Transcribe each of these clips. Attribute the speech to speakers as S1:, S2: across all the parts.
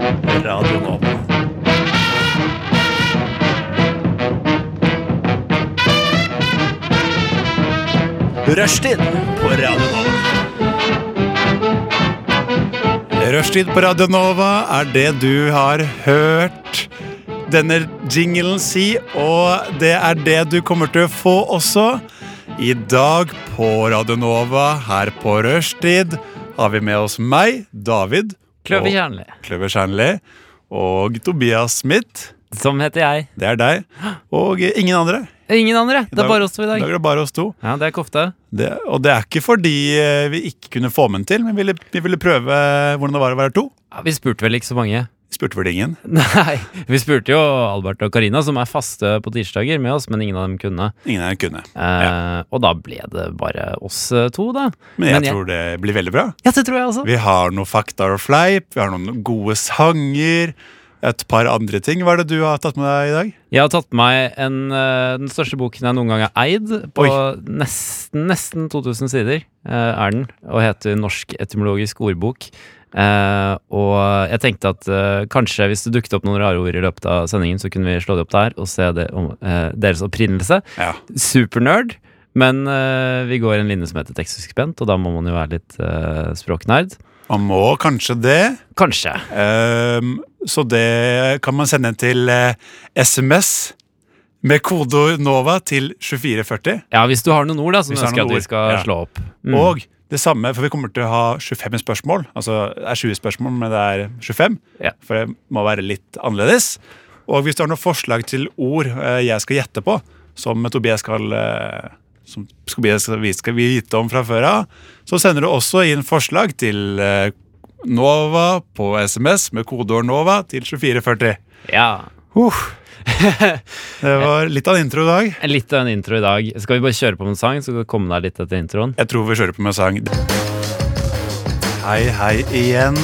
S1: Radio Nova. Rushtid på Radio Nova.
S2: Rushtid på Radio Nova er det du har hørt denne jinglen si, og det er det du kommer til å få også. I dag på Radio Nova her på rushtid har vi med oss meg, David.
S3: Kløver
S2: og-
S3: Kjernli.
S2: Kløver Kjernli. Og Tobias Smith.
S3: Som heter jeg.
S2: Det er deg. Og ingen andre.
S3: Ingen andre. Det er bare oss to i
S2: I dag
S3: dag.
S2: er det bare oss to.
S3: Ja, det er kofte.
S2: Det, og det er ikke fordi eh, vi ikke kunne få med den til, men vi ville, vi ville prøve hvordan det var å være to.
S3: Ja, vi spurte vel ikke så mange.
S2: Spurte vel ingen.
S3: Nei, vi spurte jo Albert og Karina, som er faste på tirsdager med oss, men ingen av dem kunne.
S2: Ingen her kunne.
S3: Eh, Og da ble det bare oss eh, to, da.
S2: Men jeg
S3: Men jeg-
S2: tror det blir veldig bra.
S3: Ja, det tror jeg også.
S2: Vi har noen fakta og fleip, vi har noen gode sanger. Et par andre ting. Hva er det du har tatt med deg i dag?
S3: Jeg har tatt med meg en, eh, den største boken jeg noen gang har eid, på nesten, nesten 2000 sider eh, er den, og heter Norsk etymologisk ordbok. Eh, og jeg tenkte at eh, kanskje hvis det dukket opp noen rare ord i løpet av sendingen, så kunne vi slå det opp der og se det om eh, deres opprinnelse.
S2: Ja.
S3: Supernerd, men eh, vi går en linje som heter tekstsuspent, og da må man jo være litt eh, språknerd.
S2: Man må kanskje det.
S3: Kanskje.
S2: Ehm, så det kan man sende til eh, SMS med kodeord NOVA til 2440.
S3: Ja, hvis du har noen ord da, som
S2: Hvis det
S3: du
S2: er
S3: ønsker
S2: noen
S3: at vi
S2: ord,
S3: skal
S2: ja.
S3: slå opp. Mm.
S2: Og det samme, for vi kommer til å ha 25 spørsmål. Altså det er 20 spørsmål, men det er 25.
S3: Ja.
S2: For det må være litt annerledes. Og hvis du har noen forslag til ord eh, jeg skal gjette på, som Tobias skal eh, som Tobias vi skal vite om fra før av, så sender du også inn forslag til eh, Nova på SMS med kodeord NOVA til 2440.
S3: Ja.
S2: Uh. Det var litt av en intro i dag.
S3: Litt av en intro i dag. Skal vi bare kjøre på med en sang, så kan du komme deg litt etter introen?
S2: Jeg tror vi kjører på med sang. Hei, hei igjen.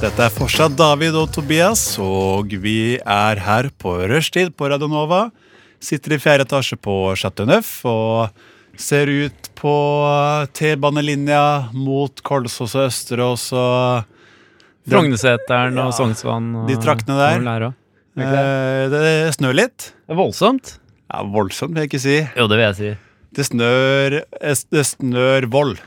S2: Dette er fortsatt David og Tobias, og vi er her på rushtid på Radionova. Sitter i fjerde etasje på Chateau Neuf og ser ut på T-banelinja mot Kolsås og Østerås og
S3: Frognerseteren og Sognsvann og
S2: De traktene der.
S3: hvor det er også. Er ikke det?
S2: Eh, Det snør litt.
S3: Det er voldsomt.
S2: Ja, voldsomt, vil jeg ikke si.
S3: Jo, det vil jeg si.
S2: Det snør eh, Det snør vold.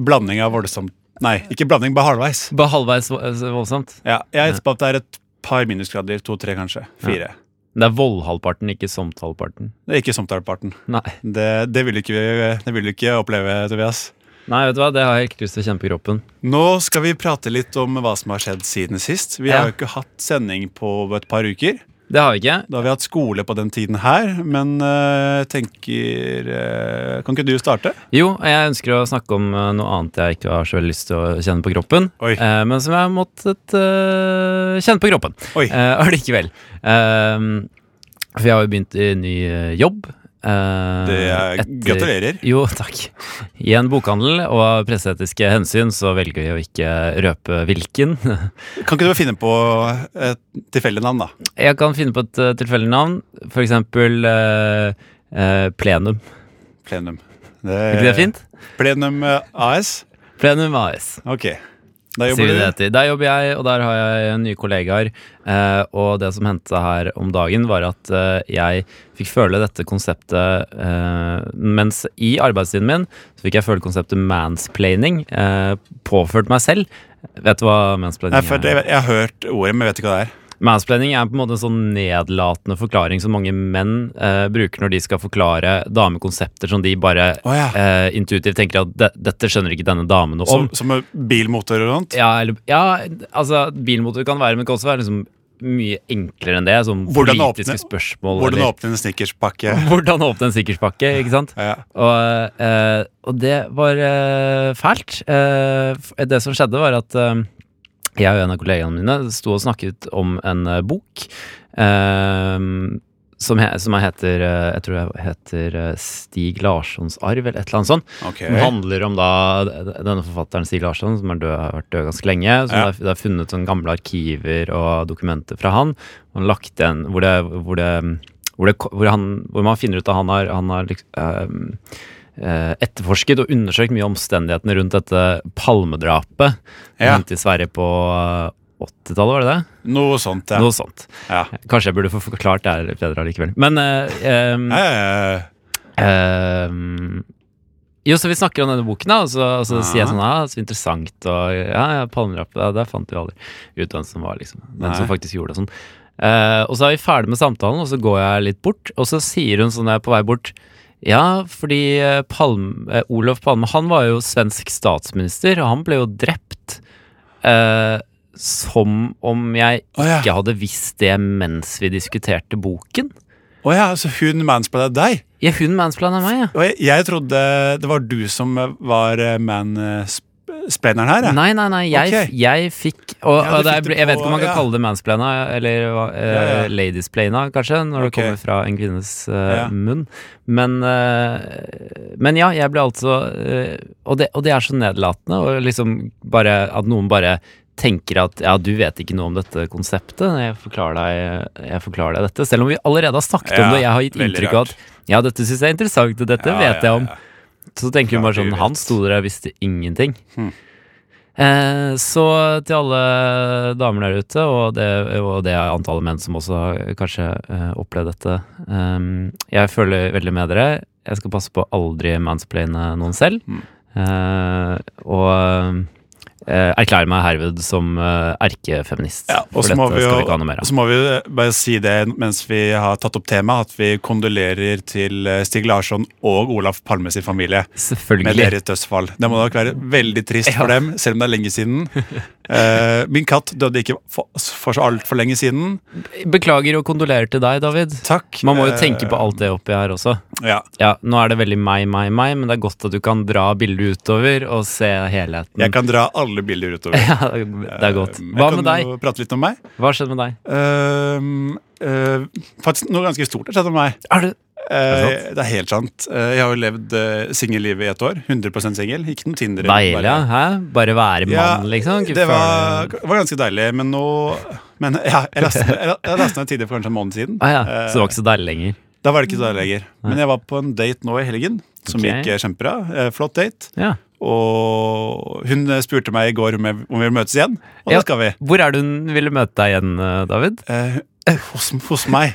S2: Blanding av voldsomt Nei, ikke blanding, bare halvveis.
S3: Bare halvveis vo- eh, voldsomt.
S2: Ja, jeg gjetter på at det er et par minusgrader. To-tre, kanskje. Fire.
S3: Det er voldhalvparten, ikke somthalvparten.
S2: Det er ikke Somtdalparten.
S3: Nei.
S2: Det, det, vil du ikke, det vil du ikke oppleve, Tobias.
S3: Nei, vet du hva, det har jeg helt lyst til å kjenne på kroppen.
S2: Nå skal vi prate litt om hva som har skjedd siden sist. Vi
S3: Ja.
S2: har jo ikke hatt sending på et par uker.
S3: Det har vi ikke.
S2: Da har vi hatt skole på den tiden her, men øh, tenker øh, Kan ikke du starte?
S3: Jo, jeg ønsker å snakke om eh, noe annet jeg ikke har så veldig lyst til å kjenne på kroppen,
S2: Oi.
S3: eh, men som jeg har måttet eh, kjenne på kroppen.
S2: Oi.
S3: Eh, Allikevel. Eh, for jeg har jo begynt i ny eh, jobb. eh,
S2: Det er,
S3: etter-
S2: gratulerer.
S3: Jo, takk. I en bokhandel og av presseetiske hensyn så velger vi å ikke røpe hvilken.
S2: Kan ikke du finne på et tilfeldig navn, da?
S3: Jeg kan finne på et eh, tilfeldig navn, for eksempel eh, eh, Plenum.
S2: Plenum.
S3: Er
S2: Eh.
S3: ikke det fint?
S2: Plenum eh, AS.
S3: Plenum AS.
S2: Ok. Da
S3: Sier
S2: jobber
S3: vi
S2: du
S3: det etter. Der jobber jeg, og der har jeg nye kollegaer. Eh, og det som hendte her om dagen, var at eh, jeg fikk føle dette konseptet eh, Mens i arbeidstiden min så fikk jeg føle konseptet mansplaining eh, påført meg selv. Vet du hva mansplaining
S2: Nei, for det, jeg har hørt ordet, men jeg vet ikke hva det er.
S3: Mansplaining er på en måte en sånn nedlatende forklaring som mange menn eh, bruker når de skal forklare damekonsepter som de bare
S2: Å, ja.
S3: eh, intuitivt tenker at de, dette skjønner ikke denne damen noe om.
S2: Som, som med bilmotor og sånt?
S3: Ja, eller, ja, altså bilmotor kan være, men det kan også være liksom mye enklere enn det. Som
S2: Hvordan åpne-
S3: politiske spørsmål.
S2: Hvordan
S3: eller-
S2: åpne en snickerspakke?
S3: hvordan åpne en sikkerhetspakke, ikke sant?
S2: Ja.
S3: Og, eh, og det var eh, fælt. Eh, f- det som skjedde, var at eh, jeg og en av kollegaene mine sto og snakket om en eh, bok eh, som, he, som heter eh, Jeg tror jeg heter eh, Stig Larssons arv, eller et eller annet sånt.
S2: Ok.
S3: Den handler om da denne forfatteren Stig Larsson, som er død, har vært død ganske lenge.
S2: Ja.
S3: Så det, er, det er funnet sånn gamle arkiver og dokumenter fra han. Og han lagt igjen hvor, det, hvor, det, hvor, det, hvor, han, hvor man finner ut at han har, han har liksom, ehm, eh, etterforsket og undersøkt mye omstendighetene rundt dette palmedrapet
S2: Ja.
S3: rundt i Sverige på eh, 80-tallet, var det det?
S2: Noe sånt, ja.
S3: Noe sånt.
S2: ja.
S3: Kanskje jeg burde få forklart det her bedre allikevel. Men eh, ehm,
S2: Ja, ja, ja.
S3: Ehm, jo, så vi snakker om denne boken, da, og så, og så
S2: Ja.
S3: sier jeg sånn Ja, så interessant, og ja, ja palmerapp, ja, der fant vi aldri ut hvem som var, liksom. Men
S2: Nei.
S3: som faktisk gjorde det og sånn. Eh, og så er vi ferdig med samtalen, og så går jeg litt bort, og så sier hun sånn når jeg er på vei bort ja, fordi eh, Palm, eh, Olof Palme han var jo svensk statsminister, og han ble jo drept eh, som om jeg
S2: Å ja.
S3: ikke hadde visst det mens vi diskuterte boken.
S2: Å ja, så hun mansplaina deg?
S3: Ja, hun mansplaner meg, ja.
S2: Og jeg, jeg trodde det var du som var eh, mansplaineren her. jeg.
S3: Nei, nei, nei. Jeg,
S2: Ok.
S3: jeg fikk og,
S2: Ja, du
S3: og det,
S2: fikk
S3: er-
S2: det
S3: Jeg vet ikke om
S2: på-
S3: man kan
S2: ja.
S3: kalle det mansplaina, eller uh,
S2: Ja, ja.
S3: ladiesplaina, kanskje, når
S2: Ok.
S3: det kommer fra en kvinnes eh,
S2: Ja.
S3: munn. Men, eh, men ja, jeg ble altså eh, og, det, og det er så nedlatende, og liksom bare at noen bare tenker at ja, du vet ikke noe om dette konseptet, jeg forklarer deg, jeg forklarer deg dette. Selv om vi allerede har snakket
S2: Ja,
S3: om det, jeg har gitt
S2: veldig
S3: inntrykk av
S2: rart.
S3: at ja, dette syns jeg er interessant, og dette
S2: Ja, ja,
S3: vet jeg om.
S2: ja.
S3: Så tenker hun
S2: Ja,
S3: bare sånn
S2: du vet.
S3: Han sto der og visste ingenting.
S2: Hmm.
S3: Eh, så til alle damer der ute, og det, og det er antallet menn som også har kanskje eh, opplevd dette ehm, Jeg føler veldig med dere. Jeg skal passe på å aldri mansplaine noen selv.
S2: Hmm.
S3: Eh, og eh, erklære meg herved som eh, erkefeminist.
S2: Ja, og
S3: For
S2: så
S3: dette
S2: må vi
S3: skal
S2: jo
S3: vi ikke ha noe mer av.
S2: så må vi jo bare si det mens vi har tatt opp temaet, at vi kondolerer til eh, Stig Larsson og Olaf Palme sin familie med
S3: Selvfølgelig.
S2: deres dødsfall. Det må nok være veldig trist for
S3: Ja.
S2: dem, selv om det er lenge siden. Eh, min katt døde ikke for, for så altfor lenge siden.
S3: Beklager og kondolerer til deg, David.
S2: Takk.
S3: Man må jo
S2: Eh,
S3: tenke på alt det oppi her også.
S2: Ja.
S3: Ja, nå er det veldig meg, meg, meg, men det er godt at du kan dra bildet utover og se helheten.
S2: Jeg kan dra alle bilder utover.
S3: Ja, Mm. det er godt.
S2: Eh,
S3: Hva med
S2: Jeg
S3: deg?
S2: kan jo prate litt om meg.
S3: Hva skjedde med deg?
S2: Ehm, eh, faktisk noe ganske stort har skjedd med meg.
S3: Er du
S2: Eh, det er helt sant. Eh, jeg har jo levd uh, singellivet i et år. 100 singel. Ikke noe Tinder.
S3: deilig, ja? Hæ? Bare være
S2: Ja,
S3: mann, liksom? Ikke
S2: det var,
S3: føle-
S2: det var ganske deilig, men nå Men ja, jeg lastet ned- jeg jeg lastet ned tidlig for kanskje en måned siden.
S3: ah, ja.
S2: Eh,
S3: Så det var ikke så deilig lenger?
S2: Da var det ikke så deilig lenger. Men jeg var på en date nå i helgen, som
S3: Ok.
S2: gikk eh, kjempebra. Eh, Flott date.
S3: Ja.
S2: Og hun eh, spurte meg i går om jeg- om vi vil møtes igjen, og
S3: Ja.
S2: det skal vi.
S3: Hvor er det hun ville møte deg igjen, eh, David?
S2: Eh, hos, hos meg.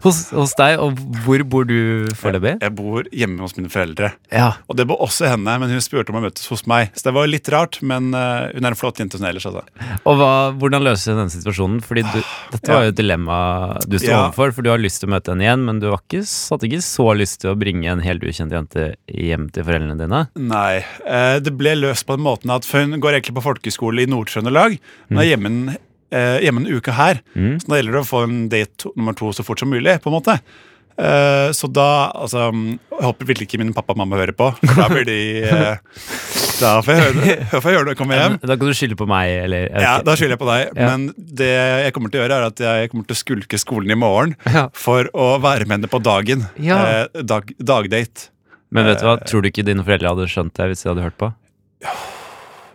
S3: Hos, hos deg, og hvor bor du foreløpig?
S2: Jeg bor hjemme hos mine foreldre.
S3: Ja.
S2: Og det bor også henne, men hun spurte om å møtes hos meg. Så det var litt rart, men eh, hun er en flott jente sånn ellers, altså.
S3: Og hva, hvordan løser du denne situasjonen? Fordi du, dette var jo et dilemma du sto
S2: Ja.
S3: overfor, for du har lyst til å møte henne igjen, men du var ikke, hadde ikke så lyst til å bringe en helt ukjent jente hjem til foreldrene dine.
S2: Nei. eh, det ble løst på den måten at for hun går egentlig på folkeskole i Nord-Trøndelag, men er hjemme en, eh, hjemme en uke her. Så da gjelder det å få en date to- nummer to så fort som mulig, på en måte. Eh, så da altså, mm, Jeg håper virkelig ikke min pappa og mamma hører på, for da blir de eh, Da får jeg høre det, får jeg høre det når jeg kommer hjem.
S3: Da kan du skylde på meg, eller jeg vet
S2: Ja,
S3: ikke.
S2: Da skylder jeg på deg.
S3: Ja.
S2: Men det jeg kommer til å gjøre, er at jeg kommer til å skulke skolen i morgen
S3: Ja.
S2: for å være med henne på dagen.
S3: Ja.
S2: Eh, dag, dagdate.
S3: Men vet du hva, tror du ikke dine foreldre hadde skjønt det hvis de hadde hørt på?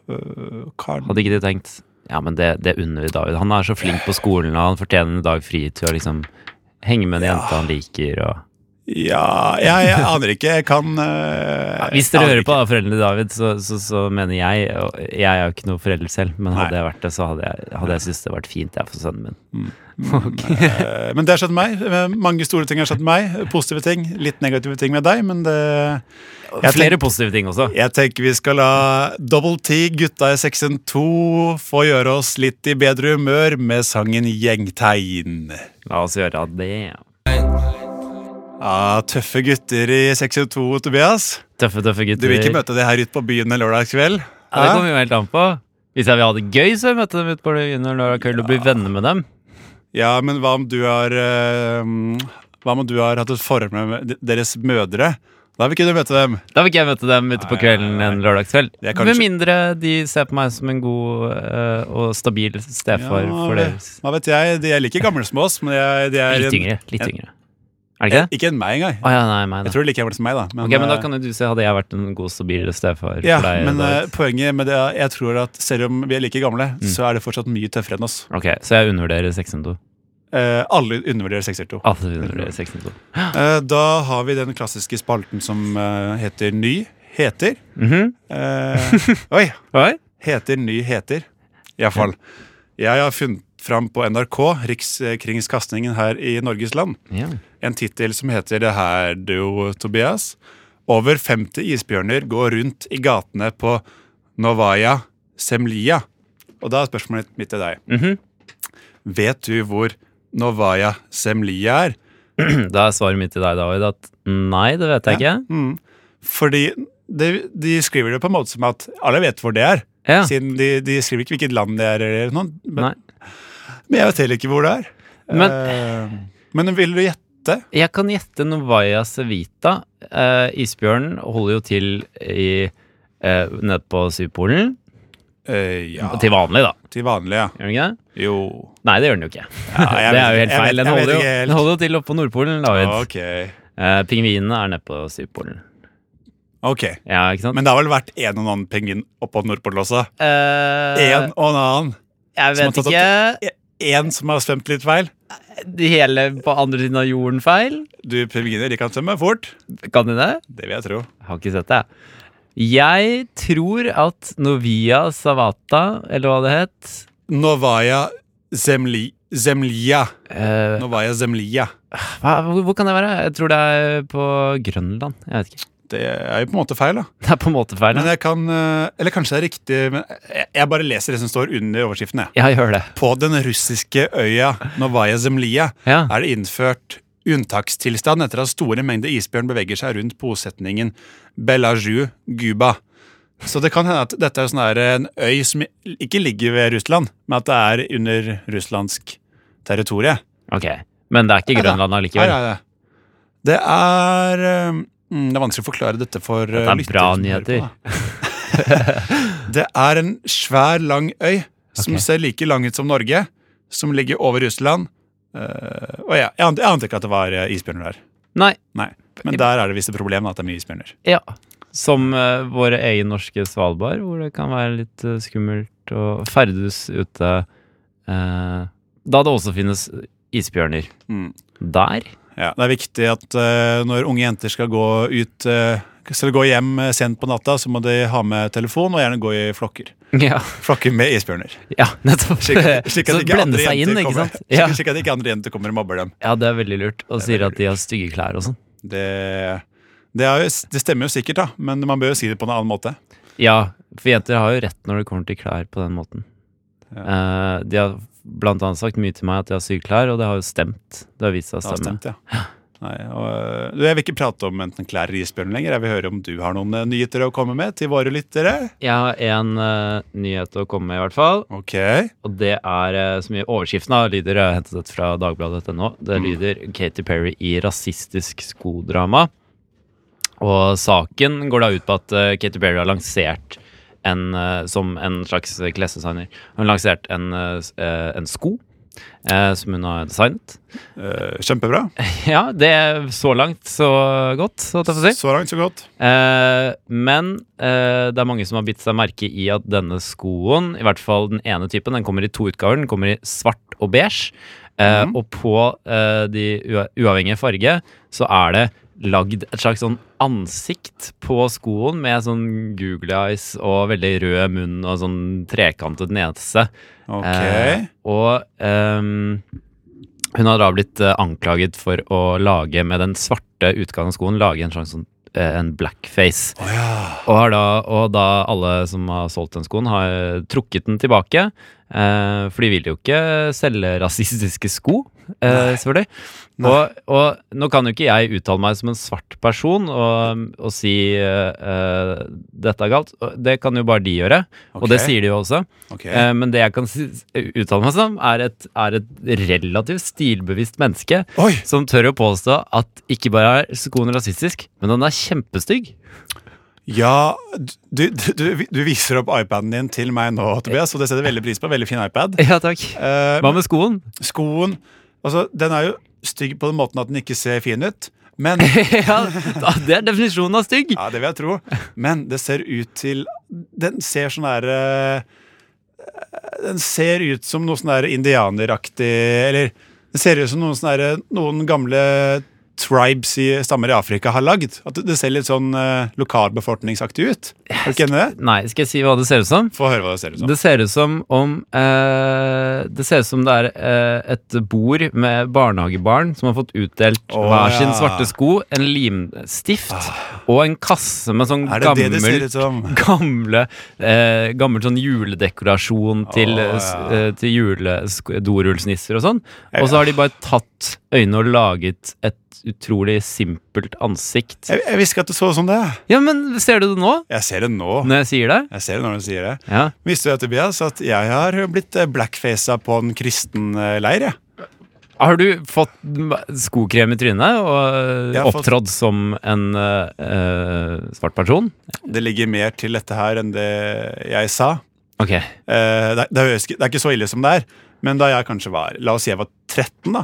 S2: Eh, Karen-
S3: Hadde ikke de tenkt Ja, men det, det unner vi David. Han er så flink på skolen, og han fortjener en dag fri til å liksom henge med en jente han liker, og
S2: Ja, jeg, jeg aner ikke. Jeg kan eh,
S3: ja, Hvis
S2: jeg
S3: dere
S2: aner
S3: hører på,
S2: ikke.
S3: da, foreldrene til David, så, så, så mener jeg og Jeg er jo ikke noe forelder selv, men hadde
S2: Nei.
S3: jeg vært det, så hadde jeg, hadde jeg syntes det hadde vært fint, jeg, for sønnen min.
S2: Eh, Men det har skjedd meg. Eh, Mange store ting har skjedd meg. Positive ting. Litt negative ting med deg, men det jeg
S3: Flere
S2: tenker,
S3: positive ting også.
S2: jeg tenker vi skal la Double T, gutta i 612, få gjøre oss litt i bedre humør med sangen Gjengtegn.
S3: La oss gjøre det.
S2: Ja, tøffe gutter i 602, Tobias.
S3: Tøffe, tøffe
S2: Du
S3: gutter.
S2: vil ikke møte de her ute på byen en lørdag kveld?
S3: ja, det kommer jo helt an på. Hvis jeg vil ha det gøy, så møter jeg dem ut på byen og lar Køll og bli venner med dem.
S2: Ja, men hva om du har eh, Hva om du har hatt et forhold med de- deres mødre? Da vil ikke du møte dem.
S3: Da vil ikke jeg møte dem ute på
S2: Nei,
S3: kvelden
S2: nei, nei.
S3: en lørdagskveld.
S2: Det er kanskje-
S3: Med mindre de ser på meg som en god eh, og stabil stefar for
S2: vel,
S3: deres
S2: Hva vet jeg? De er like gamle som oss, men jeg, de er en,
S3: Litt
S2: Eh,
S3: yngre. Litt yngre. Er det ikke det?
S2: ikke enn meg engang.
S3: Å ja, nei, meg,
S2: Jeg
S3: da.
S2: tror de er like gamle som meg, da. Men,
S3: Ok, men da
S2: eh,
S3: kan jo du si hadde jeg vært en god, stabil stefar
S2: ja,
S3: for deg.
S2: men eh,
S3: David?
S2: poenget med det er jeg tror at selv om vi er like gamle,
S3: Mm.
S2: så er det fortsatt mye tøffere enn oss.
S3: ok, så jeg undervurderer 602.
S2: Eh, alle undervurderer 602.
S3: Alle undervurderer 602.
S2: Eh, da har vi den klassiske spalten som eh, heter Ny heter.
S3: Mhm.
S2: Eh, oi!
S3: Oi?
S2: Heter ny heter. Iallfall. Jeg har funnet fram på NRK, Rikskringkastingen her i Norges land,
S3: Ja.
S2: en tittel som heter Det her, du, Tobias. Over 50 isbjørner går rundt i gatene på Novaya Semlia. Og da er spørsmålet mitt til deg.
S3: Mhm.
S2: Vet du hvor Novaya Semlia er?
S3: Da er svaret mitt til deg, David, at nei, det vet jeg ikke.
S2: Mm. Fordi de, de skriver det på en måte som at alle vet hvor det er.
S3: Ja.
S2: Siden de, de skriver ikke hvilket land det er, eller noe, men,
S3: Nei.
S2: men jeg vet heller ikke hvor det er.
S3: Men-
S2: Eh, men vil du gjette?
S3: Jeg kan gjette Novaya Civita. Eh, isbjørnen holder jo til i eh, Nede på Sydpolen.
S2: Eh, ja,
S3: Til vanlig, da.
S2: til vanlig, ja.
S3: Gjør den ikke det?
S2: Jo.
S3: Nei, det gjør den jo ikke.
S2: Ja, jeg vet-
S3: det er jo
S2: jeg
S3: helt
S2: vet-
S3: feil. Den
S2: jeg vet
S3: holder jo,
S2: ikke helt.
S3: den holder jo til oppe på Nordpolen, David.
S2: Ok.
S3: Eh, pingvinene er nede på Sydpolen.
S2: ok.
S3: Ja, ikke sant?
S2: Men det har vel vært en og en annen pingvin oppå Nordpolen også?
S3: Eh,
S2: En og en annen.
S3: jeg
S2: som
S3: vet
S2: har tatt
S3: ikke.
S2: En som har svømt litt feil.
S3: De hele på andre siden av jorden feil?
S2: Du, pingviner, de kan svømme fort.
S3: Kan de det?
S2: Det vil jeg tro.
S3: Jeg har ikke sett det. Jeg tror at Novia Savata, eller hva det het
S2: Novaya Zemli... Zemlia.
S3: eh,
S2: Novaya Zemlia.
S3: hva, hvor, hvor kan det være? Jeg tror det er på Grønland. Jeg vet ikke.
S2: Det er jo på en måte feil, da.
S3: Det er på en måte feil.
S2: Men
S3: da.
S2: jeg kan eh, Eller kanskje det er riktig men jeg- Jeg bare leser det som står under overskriften, jeg.
S3: Ja, gjør det.
S2: På den russiske øya Novaya Zemlia
S3: Ja.
S2: er det innført unntakstilstand etter at store mengder isbjørn beveger seg rundt bosetningen Belaju Guba. Så det kan hende at dette er sånn her en øy som ikke ligger ved Russland, men at det er under russlandsk territorie.
S3: Ok. Men det er ikke
S2: Nei, da.
S3: Grønland
S2: Her
S3: allikevel.
S2: er det. Det er eh, mm, Det er vanskelig å forklare dette for eh,
S3: Dette er
S2: lyttere
S3: bra
S2: som hører
S3: nyheter.
S2: på, da. det er en svær, lang øy som
S3: Ok.
S2: ser like lang ut som Norge, som ligger over Russland. Eh, og ja, jeg, ante, jeg ante ikke at det var eh, isbjørner der.
S3: Nei.
S2: Nei, Men der er det visst et problem da, at det er mye isbjørner.
S3: Ja. Som eh, våre egen norske Svalbard, hvor det kan være litt eh, skummelt å ferdes ute eh, da det også finnes isbjørner.
S2: Mm.
S3: Der.
S2: Ja, det er viktig at eh, når unge jenter skal gå ut eh, skal gå hjem eh, sent på natta, så må de ha med telefon og gjerne gå i flokker.
S3: Ja,
S2: Flokker med isbjørner.
S3: ja nettopp.
S2: Slik at, slik at
S3: Så
S2: ikke
S3: blende
S2: andre
S3: seg
S2: jenter
S3: inn, ikke
S2: kommer,
S3: sant?
S2: slik-
S3: Ja.
S2: slik at ikke andre jenter kommer og mobber dem.
S3: Ja, det er veldig lurt. Og
S2: Det er
S3: sier at de har stygge klær og sånn.
S2: Det, det, er jo, det stemmer jo sikkert, da, men man bør jo si det på en annen måte.
S3: Ja, for jenter har jo rett når det kommer til klær på den måten. Eh, de har blant annet sagt mye til meg at de har syke klær, og det har jo stemt. Det har vist seg å
S2: Det har
S3: stemme.
S2: stemt, ja. Nei, og, øh, jeg vil ikke prate om enten klær eller isbjørn lenger. Jeg vil høre om du har noen eh, nyheter å komme med til våre lyttere.
S3: Jeg har en eh, nyhet å komme med, i hvert fall.
S2: Ok,
S3: Og det er eh, så mye overskriften av lyder jeg har hentet dette fra dagbladet.no. Det lyder Katy Perry i rasistisk skodrama. Og saken går da ut på at eh, Katy Perry har lansert en, eh, som en slags klesdesigner. Hun har lansert en, eh, s- eh, en sko eh, som hun har designet.
S2: eh, Kjempebra.
S3: Ja, det er så langt så godt, så å si.
S2: Så langt, så godt.
S3: Eh, men eh, det er mange som har bitt seg merke i at denne skoen, i hvert fall den ene typen, den kommer i to utgaver. Den kommer i svart og beige. Eh,
S2: Mhm.
S3: Og på eh, de ua uavhengige farge så er det lagd et slags sånn ansikt på skoen med sånn google eyes og veldig rød munn og sånn trekantet nese.
S2: Ok.
S3: Eh, og ehm, hun har da blitt eh, anklaget for å lage, med den svarte utgaven av skoen, lage en slags sånn eh, en blackface.
S2: Å ja.
S3: Og, har da, og da alle som har solgt den skoen, har eh, trukket den tilbake. eh, for de vil jo ikke selge rasistiske sko, eh, selvfølgelig.
S2: Nei.
S3: Og, og nå kan jo ikke jeg uttale meg som en svart person og, og si eh, eh, dette er galt. Det kan jo bare de gjøre, og det
S2: Ok.
S3: sier de jo også.
S2: Ok.
S3: Eh, men det jeg kan si, uttale meg som, er et, er et relativt stilbevisst menneske
S2: Oi!
S3: som tør å påstå at ikke bare er skoen rasistisk, men den er kjempestygg.
S2: Ja, du, du, du, du viser opp iPaden din til meg nå, Tobias, og det setter jeg veldig pris på. Veldig fin iPad.
S3: Ja, takk.
S2: Eh,
S3: Hva med skoen?
S2: skoen altså, Den er jo stygg på den måten at den ikke ser fin ut, men
S3: ja, da- det er definisjonen av stygg.
S2: Ja, det vil jeg tro. Men det ser ut til Den ser sånn der eh, Den ser ut som noe sånn der indianeraktig Eller det ser ut som noen sånne der, noen sånn gamle tribes i stammer i Afrika har lagd. At det- det ser litt sånn eh, lokalbefolkningsaktig ut. Er du ikke enig i det?
S3: Nei, skal jeg si hva det ser ut som?
S2: Få høre hva det ser ut som.
S3: Det ser ut som om eh, Det ser ut som det er eh, et bord med barnehagebarn som har fått utdelt
S2: Å,
S3: hver sin
S2: ja. Ah.
S3: svarte sko, en limstift og en kasse med sånn
S2: Er det
S3: gammel
S2: det det ser ut som?
S3: Gamle, eh, gammel sånn juledekorasjon til,
S2: Å, ja.
S3: s- eh, til jule, sk- dorullsnisser og sånn.
S2: Ja,
S3: Og så har de bare tatt øynene og laget et utrolig simpelt ansikt.
S2: Jeg, jeg visste ikke at det så ut som det.
S3: Ja, men ser du det nå?
S2: Jeg ser det nå.
S3: Når jeg sier det?
S2: Jeg ser det når du sier det.
S3: Ja.
S2: Visste du Tobias, at jeg har blitt eh, blackfacet på en kristen eh, leir? Jeg.
S3: Har du fått m- skokrem i trynet og eh,
S2: Jeg har fått-
S3: opptrådt som en eh, eh, svart person?
S2: Det ligger mer til dette her enn det jeg sa.
S3: Ok.
S2: Eh, det, det, høres, ikke- det er ikke så ille som det er, men da jeg kanskje var La oss si jeg var 13, da.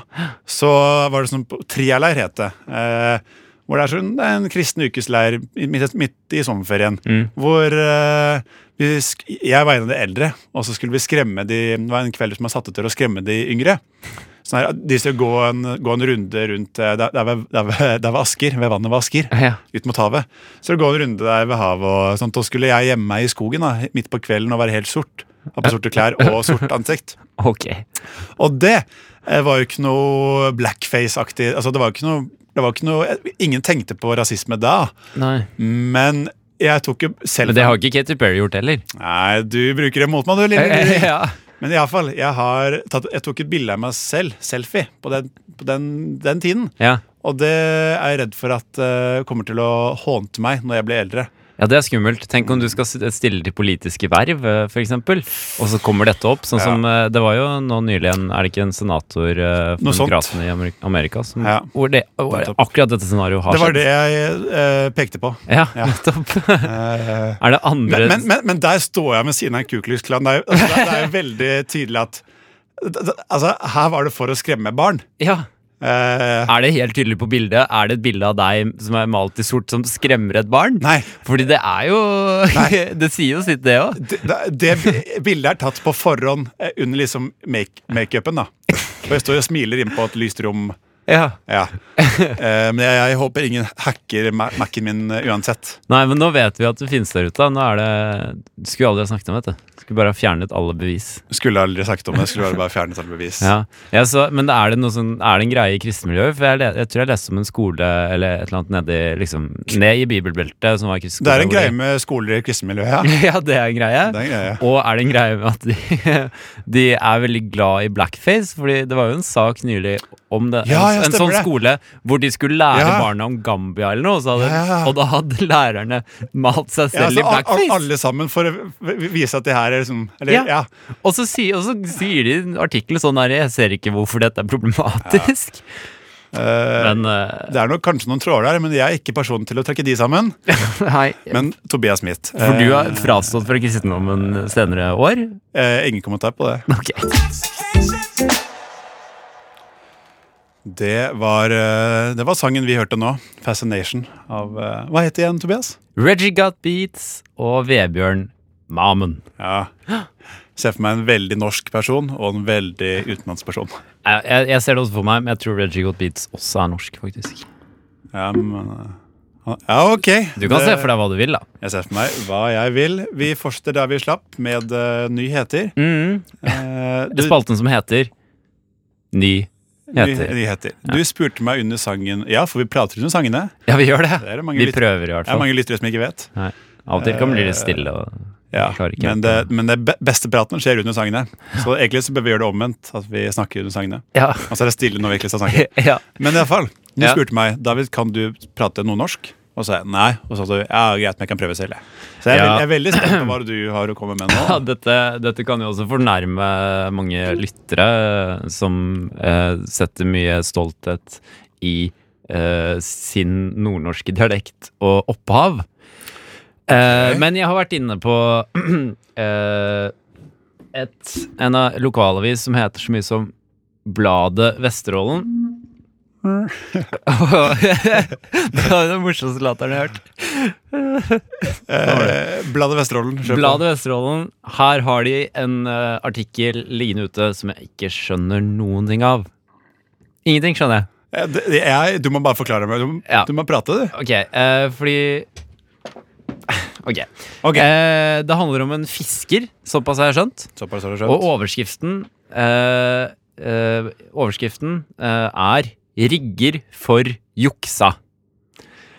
S2: Så var det sånn på- Trialeir het det. Eh, hvor det er sånn, det er en kristen ukesleir i- midt, midt i sommerferien. Hvor eh, vi, sk- jeg var en av de eldre, og så skulle vi skremme de Det var en kveld som var satt ut til å skremme de yngre. Sånn her, de skulle gå en, gå en runde rundt eh, der, der, ved, der, ved, der ved Asker, ved vannet ved Asker
S3: Ja.
S2: ut mot havet. Så det går en runde der ved havet, og sånt, og skulle jeg gjemme meg i skogen da, midt på kvelden og være helt sort. Ha på sorte klær og sort ansikt.
S3: Ok.
S2: Og det eh, var jo ikke noe blackface-aktig. Altså, det var jo ikke noe, det var ikke noe Ingen tenkte på rasisme da,
S3: Nei.
S2: men jeg tok jo selv
S3: Men det har ikke Katy Perry gjort heller.
S2: Nei, du bruker det mot meg, du, lille lille.
S3: Eh, ja.
S2: Men iallfall, jeg, har tatt, jeg tok et bilde av meg selv, selfie, på den, på den, den tiden.
S3: Ja.
S2: Og det er jeg redd for at eh, kommer til å hånte meg når jeg blir eldre.
S3: ja, det er skummelt. Tenk om du skal s- stille til politiske verv, eh, for eksempel og så kommer dette opp. Sånn
S2: Ja.
S3: som eh, Det var jo nå nylig en Er det ikke en senator eh, for
S2: Noe sånt.
S3: Demokratene i Amer- Amerika som,
S2: Ja.
S3: hvor det, hvor
S2: Nettopp.
S3: akkurat dette scenarioet har
S2: Det var
S3: skjedd?
S2: det jeg eh, pekte på.
S3: Ja,
S2: Ja.
S3: nettopp.
S2: Eh,
S3: er det andre
S2: men, men, men, men der står jeg ved siden av en kukelusklan. Det, er jo- altså, det er jo veldig tydelig at d- d- Altså, her var det for å skremme barn.
S3: Ja.
S2: Eh,
S3: Er det helt tydelig på bildet? Er det et bilde av deg som er malt i sort, som skremmer et barn?
S2: nei.
S3: Fordi det er jo Det sier jo sitt, det òg.
S2: Det, det det bildet er tatt på forhånd eh, under liksom make- makeupen, da. Og jeg står og smiler inne på et lyst rom.
S3: Ja.
S2: Ja. Eh, men jeg, jeg håper ingen hacker Ma- Mac-en min eh, uansett.
S3: Nei, men nå vet vi at det finnes der ute. da. Nå er det Skulle aldri ha snakket om det. vet du. Skulle bare ha fjernet alle bevis.
S2: Skulle aldri sagt om det. Skulle bare- bare fjernet alle bevis.
S3: Ja. Jeg så, men er det, noe sånn, er det en greie i kristenmiljøet? For jeg, le- jeg tror jeg leste om en skole eller et eller annet nedi, liksom, ned i bibelbeltet som var kristen.
S2: Det er en greie med skoler i kristenmiljøet, ja.
S3: Ja, det er en greie.
S2: Det er en greie.
S3: Og er det en greie med at de, de er veldig glad i blackface? Fordi det var jo en sak nylig om det,
S2: Ja, ja,
S3: en, en sånn
S2: stemmer det.
S3: skole hvor de skulle lære
S2: Ja.
S3: barna om Gambia eller noe, og, så hadde,
S2: Ja, ja.
S3: og da hadde lærerne malt seg
S2: Ja,
S3: selv
S2: altså,
S3: i
S2: al- al-
S3: blackface.
S2: alle sammen for å v- v- vise at det her er liksom eller,
S3: Ja.
S2: ja.
S3: Og, så sier, og så sier de i artikkelen sånn her Jeg ser ikke hvorfor dette er problematisk.
S2: Eh,
S3: Men eh,
S2: Det er nok kanskje noen tråder der, men jeg er ikke personen til å trekke de sammen.
S3: hei.
S2: Men Tobias Smith.
S3: eh, For du
S2: eh,
S3: har frastått fra kristendommen senere år?
S2: eh, Ingen kommentar på det.
S3: Ok.
S2: Det var, eh, det var sangen vi hørte nå. 'Fascination' av eh, Hva heter det igjen, Tobias?
S3: Reggie Got Beats og Vebjørn Mamen.
S2: Ja. Se for meg en veldig norsk person og en veldig utenlandsk person.
S3: Jeg, jeg, jeg ser det også for meg, men jeg tror Reggie Got Beats også er norsk, faktisk.
S2: Ja, men, eh, ja ok.
S3: Du kan
S2: Det-
S3: se for deg hva du vil, da.
S2: Jeg ser for meg hva jeg vil. Vi fortsetter der vi slapp, med eh, nyheter.
S3: Mm.
S2: Eh, du-
S3: Spalten som heter Ny heter.
S2: Ny- Nyheter. Du spurte meg under sangen Ja, for vi prater under sangene.
S3: Ja, vi gjør det.
S2: Det er det mange
S3: Vi
S2: lyt-
S3: prøver, i hvert
S2: Det er
S3: fall.
S2: mange lyttere som ikke vet.
S3: Nei. Av og til kan det bli litt stille. Og...
S2: Ja,
S3: klarer ikke
S2: men,
S3: helt
S2: det, men det be- beste praten skjer under sangene. Så egentlig så bør vi gjøre det omvendt. At vi snakker under sangene.
S3: Ja.
S2: Altså det er stille når vi egentlig skal snakke.
S3: ja.
S2: Men iallfall. Du
S3: Ja.
S2: spurte meg David, kan du prate noe norsk. Og så sa jeg nei. Og så sa du ja, greit, men jeg kan prøve selv. jeg». Så jeg er,
S3: Ja.
S2: veldig, jeg er veldig spent på hva du har å komme med nå.
S3: Ja, dette, dette kan jo også fornærme mange lyttere som eh, setter mye stolthet i eh, sin nordnorske dialekt og opphav. Eh,
S2: Ok.
S3: Men jeg har vært inne på eh, et, en av lokalavis som heter så mye som Bladet Vesterålen. det var den morsomste latteren jeg har hørt.
S2: Eh, Bladet Vesterålen. kjør på.
S3: Bladet Vesterålen, her har de en eh, artikkel liggende ute som jeg ikke skjønner noen ting av. Ingenting skjønner jeg.
S2: Eh, det- Jeg, du må bare forklare meg. Du, må-
S3: Ja.
S2: du må prate, du.
S3: Ok, eh, fordi Ok.
S2: Ok.
S3: Eh, det handler om en fisker, såpass har jeg skjønt.
S2: Såpass har du
S3: Og
S2: skjønt.
S3: overskriften eh, eh, Overskriften eh, er 'Rigger for juksa'.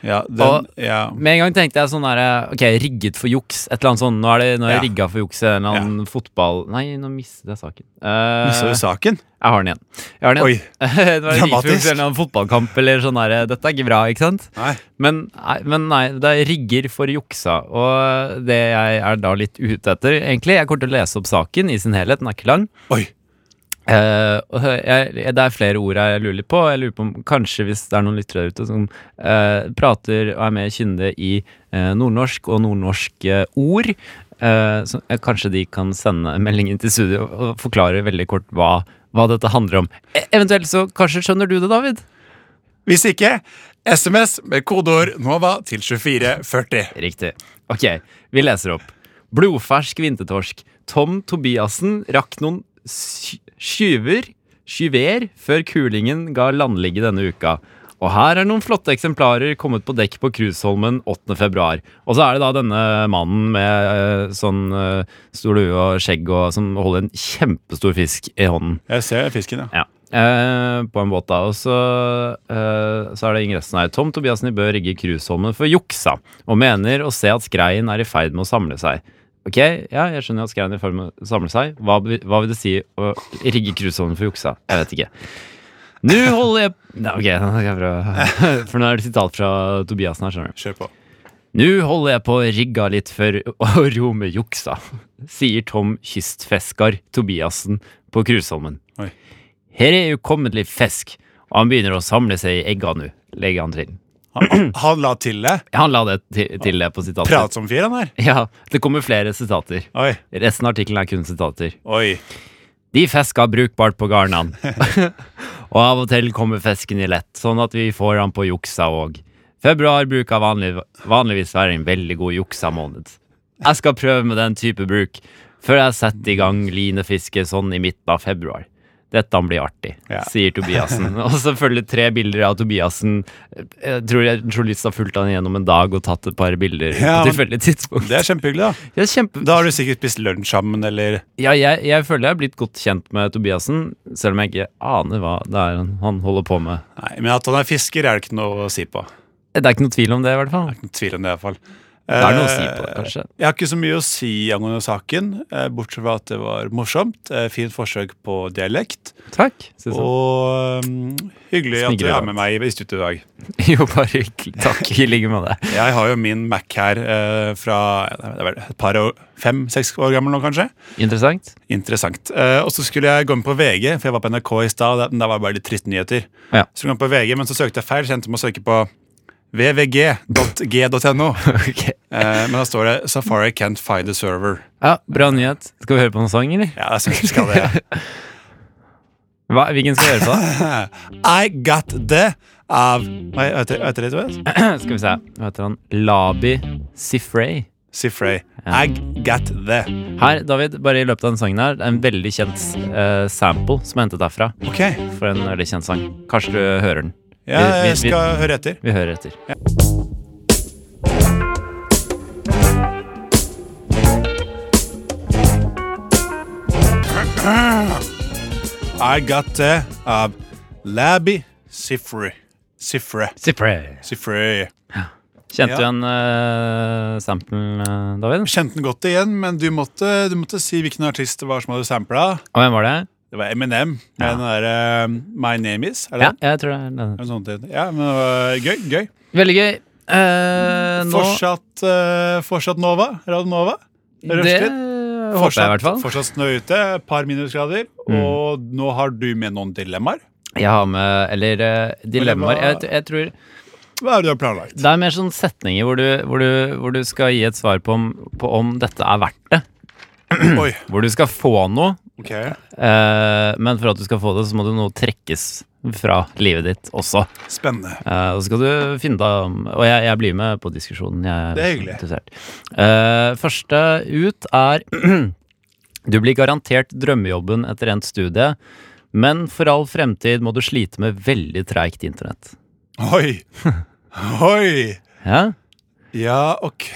S2: Ja, den,
S3: og-
S2: ja.
S3: Med en gang tenkte jeg sånn der, Ok, rigget for juks. Et eller annet sånn Nå er, det, nå er jeg
S2: Ja.
S3: rigga for juks. En eller annen fotball Nei, nå mistet jeg saken. Eh,
S2: Missa du saken?
S3: jeg har den igjen. Jeg har den igjen.
S2: Oi.
S3: det var rigget for juks,
S2: dramatisk.
S3: en eller annen fotballkamp eller sånn der, Dette er ikke bra, ikke sant?
S2: Nei.
S3: Men, nei- men nei, det er rigger for juksa, og det jeg er da litt ute etter, egentlig Jeg kommer til å lese opp saken i sin helhet, den er ikke lang.
S2: Oi.
S3: Eh, og jeg, jeg- det er flere ord jeg lurer litt på. Jeg lurer på om Kanskje hvis det er noen lyttere der ute som eh, prater og er mer kyndige i eh, nordnorsk og nordnorske ord, eh, så, eh, kanskje de kan sende meldingen til studio og forklare veldig kort hva, hva dette handler om. E eventuelt så kanskje skjønner du det, David?
S2: Hvis ikke, SMS med kodeord NOVA til 2440.
S3: Riktig. Ok, vi leser opp. Blodfersk vintertorsk. Tom Tobiassen rakk noen sy- skyver, skyver før kulingen ga landligge denne uka. Og her er noen flotte eksemplarer kommet på dekk på Krusholmen 8. februar. Og så er det da denne mannen med eh, sånn eh, stor lue og skjegg og, som holder en kjempestor fisk i hånden.
S2: Jeg ser fisken, ja.
S3: Ja. Eh, på en båt, da. Og så, eh, så er det ingressen her. Tom Tobiassen i Bø rigger cruiseholmen for juksa, og mener å se at skreien er i ferd med å samle seg. Ok, ja, jeg skjønner at skreien er i ferd med å samle seg. Hva, be- hva vil det si å rigge cruiseholmen for juksa? Jeg vet ikke. Nå holder jeg Nei, Ok, nå skal jeg prøve. For nå er det sitat fra Tobiassen her, skjønner du.
S2: Kjør på.
S3: Nå holder jeg på å rigga litt for å ro med juksa, sier Tom kystfisker Tobiassen på Krusholmen.
S2: Oi.
S3: Her er ukommelig fisk, og han begynner å samle seg i egga nå, legger han til.
S2: Han, han la til det.
S3: Han la det til, til det på sitatet.
S2: Prat som fyr, han her.
S3: Ja, det kommer flere sitater.
S2: Oi.
S3: Resten av artikkelen er kun sitater.
S2: Oi.
S3: De fisker brukbart på garnene. og av og til kommer fisken i lett, sånn at vi får han på juksa òg. Februar bruker vanlig, vanligvis være en veldig god juksa-måned. Jeg skal prøve med den type bruk før jeg setter i gang linefiske sånn i midten av februar. Dette blir artig,
S2: Ja.
S3: sier Tobiassen. Og selvfølgelig tre bilder av Tobiassen. Jeg tror jeg journalisten har fulgt han gjennom en dag og tatt et par bilder
S2: Ja,
S3: på
S2: men-
S3: tilfeldig tidspunkt.
S2: Det er kjempehyggelig, da.
S3: Det er kjempe...
S2: Da har du sikkert spist lunsj sammen, eller
S3: Ja, jeg, jeg føler jeg har blitt godt kjent med Tobiassen, selv om jeg ikke aner hva det er han- han holder på med.
S2: Nei, men at han er fisker, er det ikke noe å si på.
S3: Det er ikke noe tvil om det, i hvert fall.
S2: Ingen Tvil om det, iallfall.
S3: Det er noe å si på, kanskje.
S2: Eh, Jeg har ikke så mye å si angående saken, eh, bortsett fra at det var morsomt. eh, Fint forsøk på dialekt.
S3: Takk. Synes jeg.
S2: Og mm, hyggelig at du
S3: Smigrende.
S2: er med meg i studio i dag.
S3: Jo, bare hyggelig. Takk i like med deg.
S2: Jeg har jo min Mac her eh, fra det er vel et par år, fem-seks år gammel nå, kanskje.
S3: Interessant.
S2: Interessant. Eh, og så skulle jeg gå inn på VG, for jeg var på NRK i stad. og der- Der var det bare litt triste nyheter.
S3: Ja.
S2: Så skulle jeg gå inn på VG, men så søkte jeg feil. Så jeg endte med å søke på vvg.g.no.
S3: Ok.
S2: Eh, men da står det 'Safari can't find the server'.
S3: Ja, Bra nyhet. Skal vi høre på noen sang, eller?
S2: Ja, jeg synes vi skal det.
S3: Hva, hvilken skal vi høre på?
S2: I got the av Nei, hva heter hva heter det? Tobias?
S3: skal vi se. Hva heter han? Labi Sifrey.
S2: Sifrey.
S3: Ja.
S2: I got the.
S3: Her, David, bare i løpet av den sangen her, det er en veldig kjent eh, sample som er hentet derfra.
S2: Ok,
S3: For en veldig kjent sang. Kanskje du hører den.
S2: ja,
S3: Vi- vi-
S2: jeg skal høre etter.
S3: Vi hører etter.
S2: I got the av Labby Sifrey. Sifre.
S3: Sifrey.
S2: Sifrey.
S3: Kjente
S2: Ja.
S3: du igjen uh, samplen, eh, David?
S2: Kjente den godt igjen, men du måtte, du måtte si hvilken artist det var som hadde sampla.
S3: Og hvem var det?
S2: Det var Eminem med den derre My Name Is. Er det
S3: Ja,
S2: den?
S3: jeg tror det er den.
S2: Er det sånn det heter? Ja, men det var gøy. gøy.
S3: Veldig gøy. Eh, nå
S2: Fortsatt, eh, fortsatt Nova. Radio Nova.
S3: Det
S2: Røstid.
S3: håper jeg i hvert fall. Mm.
S2: fortsatt snø ute, et par minusgrader. Og nå har du med noen dilemmaer.
S3: Jeg har med Eller eh, dilemmaer.
S2: Men
S3: Jeg,
S2: det
S3: jeg tror
S2: Hva er det du har planlagt?
S3: Det er mer sånn setninger hvor du, hvor du, hvor du skal gi et svar på om, på om dette er verdt det.
S2: Oi,
S3: Hvor du skal få noe,
S2: ok
S3: eh, men for at du skal få det, så må du noe trekkes fra livet ditt også.
S2: Spennende.
S3: Eh, og så skal du finne deg om Og jeg, jeg blir med på diskusjonen. Jeg,
S2: Det er hyggelig.
S3: interessert. Eh, første ut er Du blir garantert drømmejobben etter endt studie, Men for all fremtid må du slite med veldig treigt internett.
S2: Oi! Oi!
S3: Ja?
S2: Ja, ok.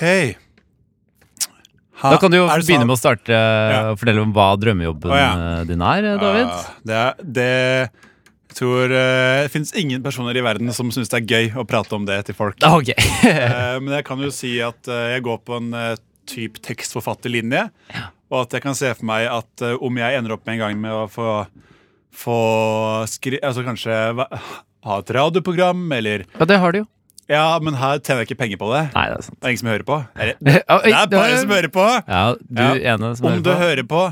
S2: Ha-
S3: Da kan du jo
S2: Ah, er det
S3: begynne
S2: sant?
S3: med å starte eh, og fortelle om hva drømmejobben
S2: Å, ja. Ah.
S3: eh, din er, eh, David.
S2: Ja, det, er- det jeg tror eh, Det fins ingen personer i verden som syns det er gøy å prate om det til folk.
S3: Ah, Ok.
S2: Eh, men jeg kan jo si at eh, jeg går på en eh, typ tekstforfatterlinje. Og at jeg kan se for meg at eh, om jeg ender opp med en gang med å få, få skri... Altså kanskje hva- ha et radioprogram, eller
S3: ja, det har du jo.
S2: Ja, men her tjener jeg ikke penger på det.
S3: Nei, det er sant.
S2: Det er ingen som hører på. Eller,
S3: Ah, oi,
S2: det er bare som hører på!
S3: Ja, du
S2: Ja.
S3: ene som
S2: Om du
S3: hører på.
S2: hører på,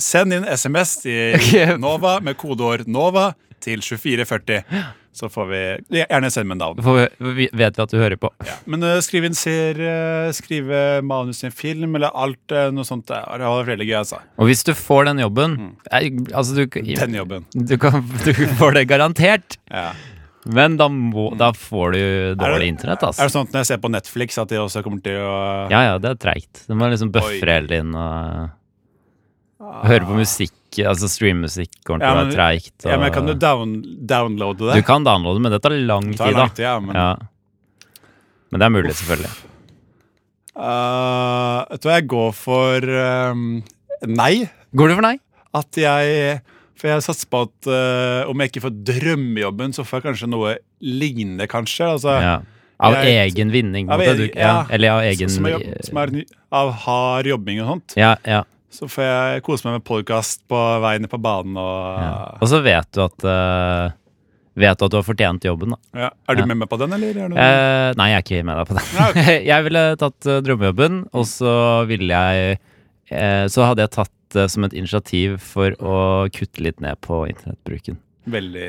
S2: send inn SMS til
S3: Ok.
S2: NOVA med kodeord NOVA til 2440. Så får vi Gjerne send med navn.
S3: Får vi- vi- Vet vi at du hører på?
S2: Men eh, skriv inn serie, skrive manus til en film eller alt eh, noe sånt. Det hadde vært veldig gøy, altså.
S3: Og hvis du får den jobben eh, Altså, du,
S2: Mm. Den jobben.
S3: du, kan, du får det garantert.
S2: Ja.
S3: Men da, må, da får du
S2: Er
S3: dårlig
S2: det-
S3: internett, altså.
S2: Er det sånn at når jeg ser på Netflix, at de også kommer til å
S3: Ja, ja, det er treigt. Du må liksom buffre hele tiden og høre på musikk. Altså streammusikk kommer
S2: Ah.
S3: til
S2: Ja,
S3: å
S2: men-
S3: være treigt.
S2: Ja, men Kan du
S3: og-
S2: down, downloade
S3: Du
S2: det?
S3: kan downloade, men det tar lang
S2: Det tar
S3: tid,
S2: lang
S3: da.
S2: tid, ja, men
S3: Ja. Men det er mulig, selvfølgelig.
S2: Eh, Jeg tror jeg går for ehm, nei.
S3: Går du for nei?
S2: At jeg For jeg satser på at eh, om jeg ikke får drømmejobben, så får jeg kanskje noe lignende, kanskje. Altså,
S3: Ja. Av
S2: Jeg-
S3: egen vinning, på
S2: Av
S3: en måte.
S2: egen-
S3: Du, ja.
S2: ja.
S3: Eller av egen
S2: som, er jobb, som er ny, av hard jobbing og sånt.
S3: Ja, ja.
S2: Så får jeg kose meg med podkast på veien på banen og
S3: ja. Og så vet du at eh, Vet du at du har fortjent jobben, da.
S2: ja. Er du
S3: Ja.
S2: med meg på den, eller? Er du,
S3: Eh, nei, jeg er ikke med deg på
S2: Nei,
S3: den. jeg ville tatt eh, drømmejobben, og så ville jeg eh, Så hadde jeg tatt det som et initiativ for å kutte litt ned på internettbruken.
S2: Veldig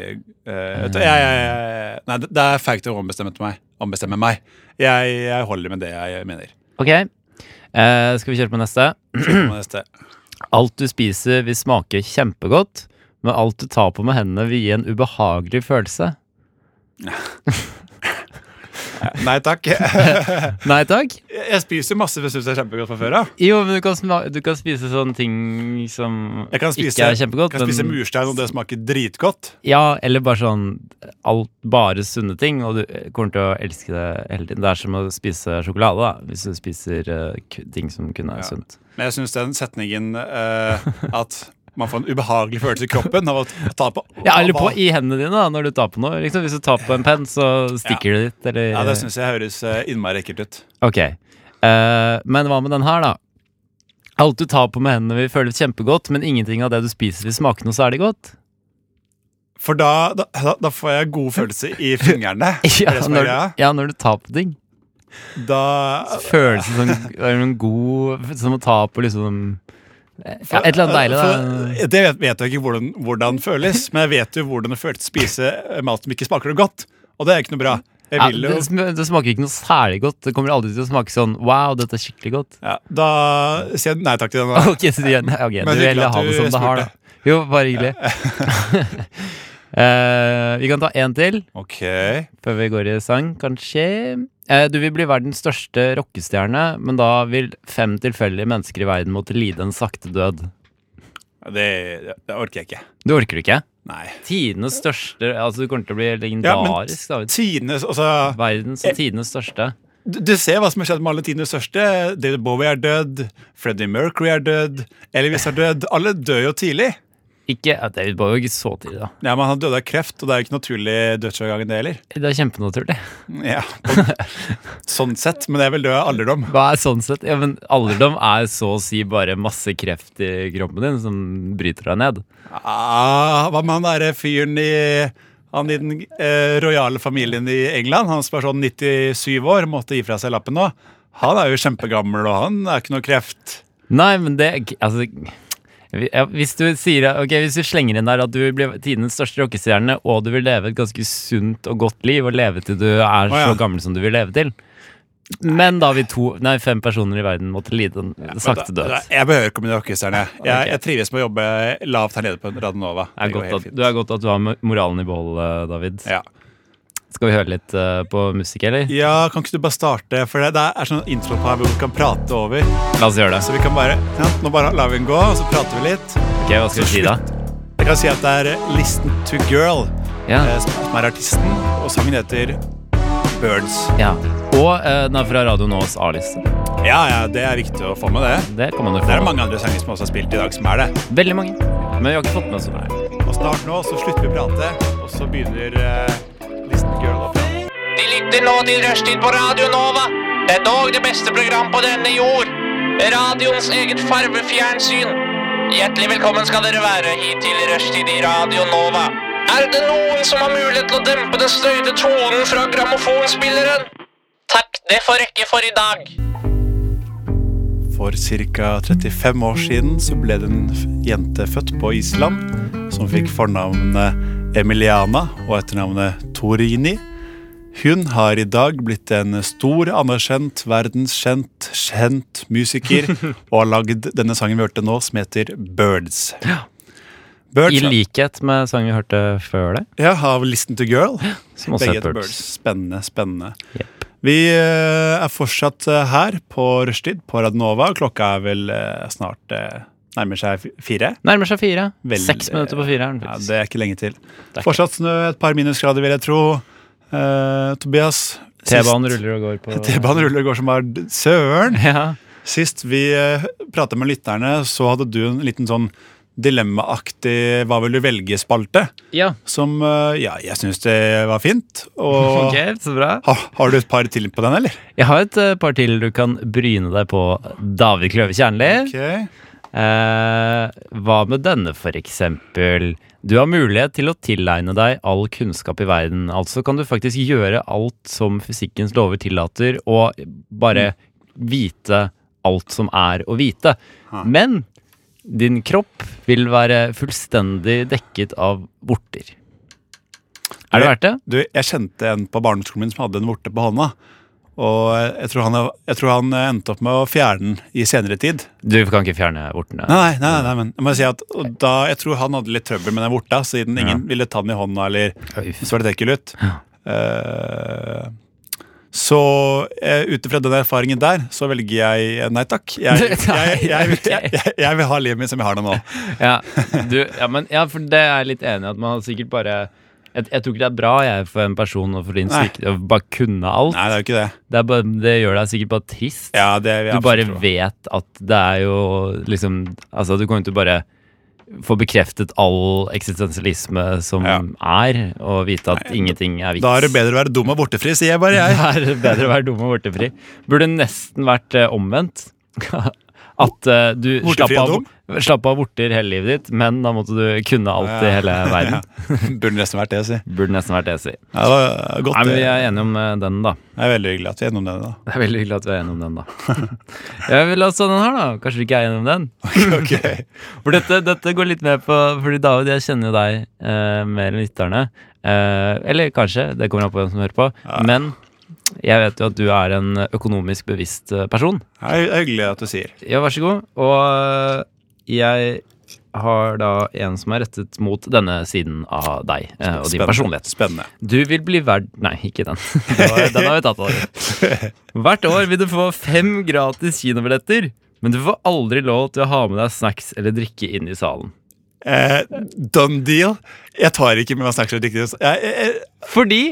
S2: eh, vet du, jeg, jeg, jeg, Nei, det- det er feigt å ombestemme til meg. Ombestemme meg. Jeg, jeg holder med det jeg mener.
S3: Ok, eh, skal vi kjøre på neste?
S2: Kjør på neste.
S3: Alt du spiser vil smake kjempegodt, men alt du tar på med hendene vil gi en ubehagelig følelse.
S2: Nei takk.
S3: Nei takk.
S2: Jeg spiser jo masse for jeg syns det er kjempegodt fra før av.
S3: Jo, men du kan, sma du kan spise sånne ting som
S2: Jeg kan spise,
S3: ikke er kjempegodt.
S2: kan spise
S3: men,
S2: murstein, og det smaker dritgodt.
S3: ja, eller bare sånn alt, bare sunne ting, og du eh, kommer til å elske det hele tiden. Det er som å spise sjokolade, da, hvis du spiser eh, ku- ting som kunne være
S2: Ja.
S3: sunt.
S2: Men jeg syns den setningen eh, at man får en ubehagelig følelse i kroppen av å ta på
S3: Ja, eller på
S2: av-
S3: i hendene dine, da, når du tar på noe. Liksom, hvis du tar på en penn, så stikker det litt, eller
S2: Ja, det syns jeg høres eh, innmari ekkelt ut.
S3: Ok, eh, men hva med den her da? Alt du tar på med hendene vil føles kjempegodt, men ingenting av det du spiser vil smake noe særlig godt.
S2: For da, da, da- da får jeg god følelse i fingrene.
S3: Ja,
S2: Er det som er
S3: når,
S2: greia?
S3: du- ja, når du tar på ting.
S2: Da,
S3: Føles det som det er noen god Som å ta på liksom ja, Et eller annet deilig, da.
S2: For- Det vet, vet jeg ikke hvordan, hvordan føles, men jeg vet jo hvordan det føles å spise eh, mat som ikke smaker noe godt. Og det er ikke noe bra. Jeg
S3: Ja,
S2: vil jo
S3: det, sm- det smaker ikke noe særlig godt. Det kommer aldri til å smake sånn Wow, dette er skikkelig godt.
S2: ja, Da sier jeg nei takk til den. da.
S3: Ok, så du, gjør- nei, ok,
S2: Men
S3: du
S2: hyggelig
S3: vil
S2: at
S3: ha det
S2: du
S3: som det har,
S2: spurte.
S3: da. Jo, bare hyggelig. Eh, vi kan ta én til.
S2: Ok
S3: Før vi går i sang, kanskje eh, Du vil bli verdens største rockestjerne, men da vil fem tilfeldige mennesker i verden måtte lide en sakte død.
S2: det, det orker jeg ikke.
S3: Du orker det ikke?
S2: Nei.
S3: Tidenes største Altså, du kommer til å bli
S2: Ja, men-
S3: legendarisk, David.
S2: Tidenes, altså
S3: Verdens og tidenes største.
S2: Du du ser hva som har skjedd med alle tidenes største. David Bowie er død, Freddie Mercury er død, Elvis er død. Alle dør jo tidlig.
S3: Ikke ja, David Bowie, ikke så tidlig, da.
S2: Ja, men Han døde av kreft, og det er jo ikke naturlig dødsårgang, det heller.
S3: Det er kjempenaturlig.
S2: Ja, og, sånn sett, men jeg vil dø av alderdom.
S3: Hva er sånn sett? Ja, men alderdom er så å si bare masse kreft i kroppen din som bryter deg ned.
S2: Ah, hva med han derre fyren i han i den eh, rojale familien i England, han som er sånn 97 år, måtte gi fra seg lappen nå. Han er jo kjempegammel, og han er ikke noe kreft.
S3: Nei, men det Altså vi- ja, hvis du, sier, ok, hvis du slenger inn der at du blir tidens største rockestjerne, og du vil leve et ganske sunt og godt liv, og leve til du
S2: ja.
S3: er så gammel som du vil leve til Men da vil to, nei, fem personer i verden måtte lide en sakte død. Ah,
S2: Da- da- Jeg behøver ikke å bli rockestjerne. Jeg,
S3: Ok.
S2: jeg trives med å jobbe lavt her nede på Radionova.
S3: Det er
S2: går
S3: godt
S2: helt
S3: at,
S2: fint.
S3: du er godt at du har mo- moralen i behold, eh, David.
S2: Ja.
S3: Skal vi høre litt eh, på musikk, eller?
S2: ja, kan ikke du bare starte? For det, det er sånn intro på her hvor vi kan prate over.
S3: La oss gjøre det.
S2: Så vi kan bare, ja, Nå bare lar vi den gå, og så prater vi litt.
S3: Ok, Hva skal vi si, da?
S2: Det Jeg kan si at det er Listen to Girl
S3: Ja.
S2: eh, som som er artisten, og sangen heter Birds.
S3: Ja. Og eh, den er fra Radio Nås A-liste.
S2: Ja, ja, det er viktig å få med det.
S3: Det kan man jo
S2: Det
S3: få
S2: er
S3: med.
S2: mange andre sanger som også er spilt i dag, som er det.
S3: Veldig mange. Men vi har ikke fått med oss det.
S2: Og snart nå så slutter vi å prate, og så begynner eh, Listen to Girl opp.
S4: De lytter nå til Rushtid på Radio Nova. Det er dog det beste program på denne jord. Radioens eget farvefjernsyn. Hjertelig velkommen skal dere være hit til Rushtid i Radio Nova. Er det noen som har mulighet til å dempe den støyte tonen fra grammofonspilleren? Takk, det får rekke for i dag.
S2: For ca. 35 år siden så ble det en f- jente født på Island som fikk fornavnet Emiliana og etternavnet Torini. Hun har i dag blitt en stor, anerkjent, verdenskjent, kjent musiker og har lagd denne sangen vi hørte nå, som heter Birds. Birds
S3: I likhet med sangen vi hørte før det,
S2: ja, av Listen to Girl.
S3: som også
S2: Begge
S3: heter
S2: heter
S3: Birds.
S2: Birds. Spennende, spennende.
S3: Jepp.
S2: Vi eh, er fortsatt eh, her på rushtid på Radnova. Klokka er vel eh, snart eh, nærmer seg fi- fire.
S3: Nærmer seg fire.
S2: Vel-
S3: Seks minutter på fire. er den
S2: Ja,
S3: faktisk.
S2: det er ikke lenge til.
S3: er ikke-
S2: Fortsatt snø, et par minusgrader vil jeg tro. Eh, Tobias. sist-
S3: T-banen ruller og går på
S2: T-banen ruller og går som bare d- søren.
S3: Ja.
S2: Sist vi eh, pratet med lytterne, så hadde du en liten sånn dilemmaaktig 'hva vil du velge'-spalte.
S3: ja.
S2: Som eh, ja, jeg syns det var fint. Og
S3: Ok, så bra.
S2: Ha, har du et par til på den, eller?
S3: Jeg har et eh, par til du kan bryne deg på, David Kløve Kjernli. Eh, hva med denne, for eksempel? Du har mulighet til å tilegne deg all kunnskap i verden. Altså kan du faktisk gjøre alt som fysikkens lover tillater, og bare vite alt som er å vite. Men din kropp vil være fullstendig dekket av vorter. Er det verdt det?
S2: Du, jeg kjente en på barneskolen min som hadde en vorte på hånda. Og jeg tror, han, jeg tror han eh, endte opp med å fjerne den i senere tid.
S3: Du kan ikke fjerne vortene.
S2: Nei, nei, nei, nei men jeg må si at og da, jeg tror han hadde litt trøbbel med den vorta, siden ingen ville ta den i hånda, eller så var det ekkel ut. Eh, så eh, ut ifra den erfaringen der, så velger jeg eh, nei takk. Jeg, jeg, jeg, jeg, jeg, jeg, jeg vil ha livet mitt som jeg har det nå.
S3: Ja, du, ja, men, ja, for det er jeg litt enig i. At man sikkert bare jeg, jeg tror ikke det er bra jeg for en person og for din
S2: Nei.
S3: syke å bare kunne alt.
S2: Nei, det er jo ikke det.
S3: Det, er bare, det gjør deg sikkert bare trist.
S2: Ja, det vil jeg
S3: du bare
S2: absolutt tro.
S3: vet at det er jo liksom Altså, du kommer til å bare få bekreftet all eksistensialisme som
S2: Ja.
S3: er, og vite at ingenting er vits.
S2: Da er det bedre å være dum og bortefri, sier jeg bare. jeg
S3: Det er bedre å være dum og vortefri. Burde nesten vært eh, omvendt. At eh, du
S2: Vortefri
S3: slapp
S2: og
S3: av, slapp av vorter hele livet ditt, men da måtte du kunne alt i
S2: Ja.
S3: hele verden.
S2: Burde nesten vært det, si.
S3: Burde nesten vært det jeg sier.
S2: Ja, det var godt.
S3: Nei, men
S2: det.
S3: vi er enige om eh, den, da.
S2: Det er veldig hyggelig at vi er gjennom det. da.
S3: Det er veldig hyggelig at vi er enige om den, da. Ja, vi La oss ta den her, da. Kanskje vi ikke er enige om den?
S2: Ok.
S3: For dette, dette går litt mer på Fordi David, jeg kjenner jo deg eh, mer enn lytterne. Eh, eller kanskje, det kommer an på hvem som hører på. Men jeg vet jo at du er en økonomisk bevisst eh, person.
S2: Det er det er hyggelig at du sier.
S3: Ja, vær så god. Og jeg har da en som er rettet mot denne siden av deg eh, og din
S2: Spennende.
S3: personlighet.
S2: Spennende.
S3: Du vil bli verd... Nei, ikke den. Det var- Den har vi tatt allerede. Hvert år vil du få fem gratis kinobilletter, men du får aldri lov til å ha med deg snacks eller drikke inn i salen.
S2: Eh, done deal. Jeg tar ikke med meg snacks og drikke. Jeg- jeg- jeg-
S3: Fordi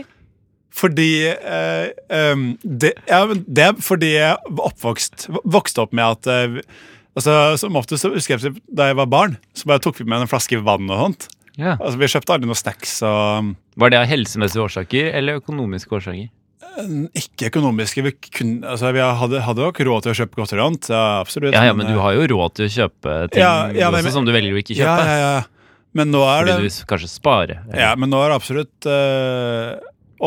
S2: Fordi eh, em, det, ja, men det er fordi jeg var oppvokst, vokste opp med at eh, altså, Som oftest så husker jeg da jeg var barn, så bare tok vi med en flaske vann og sånt.
S3: ja.
S2: Altså, vi kjøpte aldri noen snacks og
S3: Var det av helsemessige årsaker eller økonomiske årsaker?
S2: Ikke økonomiske. Vi, kunne, altså, vi hadde, hadde jo ikke råd til å kjøpe godteri og annet. Ja, absolutt.
S3: Ja, ja, men du har jo råd til å kjøpe ting
S2: Ja, ja, nei, men-
S3: også, som du velger å ikke
S2: ja,
S3: kjøpe.
S2: ja, ja. Men nå er det
S3: Fordi du s- kanskje sparer.
S2: Ja, men nå er det absolutt eh,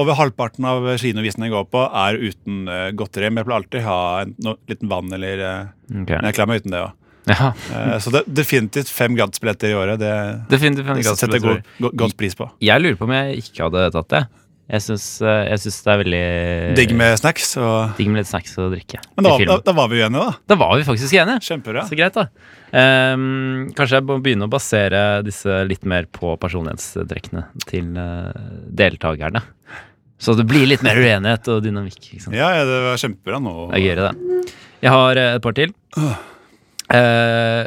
S2: Over halvparten av kinovisene jeg går på, er uten eh, godteri. Men jeg pleier alltid ha en no, liten vann eller eh,
S3: Ok.
S2: Men jeg klarer meg uten det òg.
S3: Ja,
S2: så det, definitivt fem gradsbilletter i året. Det,
S3: definitivt. en
S2: det setter jeg
S3: glassbillett.
S2: god, go- godt pris på.
S3: Jeg lurer på om jeg ikke hadde tatt det. Jeg syns, eh, jeg syns det er veldig
S2: Digg med snacks. Og,
S3: digg med litt snacks og drikke.
S2: men da,
S3: til
S2: da,
S3: film.
S2: da var vi uenige, da.
S3: da var vi faktisk enige.
S2: Kjempebra.
S3: Så greit, da. Ehm, kanskje jeg må begynne å basere disse litt mer på personlighetstrekkene til eh, deltakerne. Så det blir litt mer uenighet og dynamikk. Ikke sant?
S2: Ja, ja, det var kjempebra nå.
S3: Det er gøyere, det. Jeg har eh, et par til. Eh,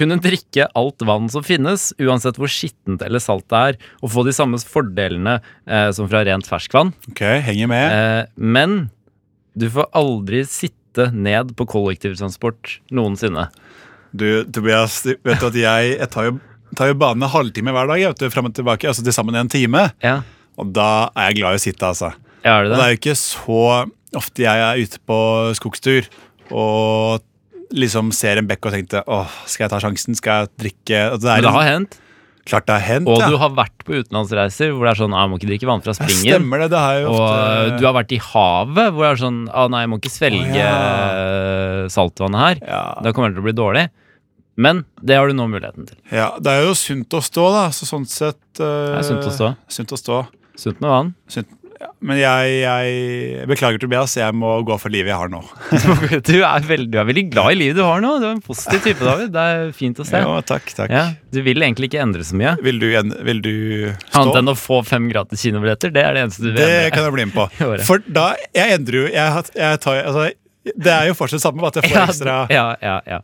S3: Kunne drikke alt vann som finnes, uansett hvor skittent eller salt det er, og få de samme fordelene eh, som fra rent ferskvann.
S2: Ok, henger med.
S3: Eh, men du får aldri sitte ned på kollektivtransport noensinne.
S2: Du, Tobias, du vet du at jeg, jeg tar jo, tar jo banen en halvtime hver dag, jeg vet du, frem og tilbake, altså til sammen en time.
S3: Ja,
S2: Og da er jeg glad i å sitte, altså.
S3: ja er
S2: Og
S3: det det?
S2: det er jo ikke så ofte jeg er ute på skogstur og liksom ser en bekk og tenkte åh, skal jeg ta sjansen, skal jeg drikke Og Det er
S3: Men det
S2: en-
S3: har hendt.
S2: klart det har hendt,
S3: Og
S2: ja.
S3: du har vært på utenlandsreiser hvor det er sånn ah, 'Jeg må ikke drikke vann fra
S2: Det
S3: springen'.
S2: Stemmer det, det har jeg jo
S3: Og
S2: ofte
S3: eh, du har vært i havet hvor det er sånn ah, 'Nei, jeg må ikke svelge
S2: Å, ja.
S3: eh, saltvannet her'.
S2: ja.
S3: Da kommer det til å bli dårlig. Men det har du nå muligheten til.
S2: ja, det er jo sunt å stå, da, så sånn sett eh,
S3: Det er sunt å stå.
S2: Sunt å stå.
S3: Sunt med vann.
S2: Sunt. Ja. Men jeg, jeg beklager, Tobias, jeg må gå for livet jeg har nå.
S3: Du er, veldig, du er veldig glad i livet du har nå. Du er en positiv type, David. Det er fint å se.
S2: Jo, takk, takk.
S3: Ja, du vil egentlig ikke endre så mye.
S2: Vil, du, igjen- vil du stå?
S3: Annet enn å få fem gratis kinobilletter. Det er det eneste du vil
S2: Det
S3: endre.
S2: kan jeg bli med på.
S3: I året.
S2: For da Jeg endrer jo jeg, har- jeg tar, altså, Det er jo fortsatt samme, bare at jeg får
S3: Ja,
S2: ekstra
S3: ja, ja, ja,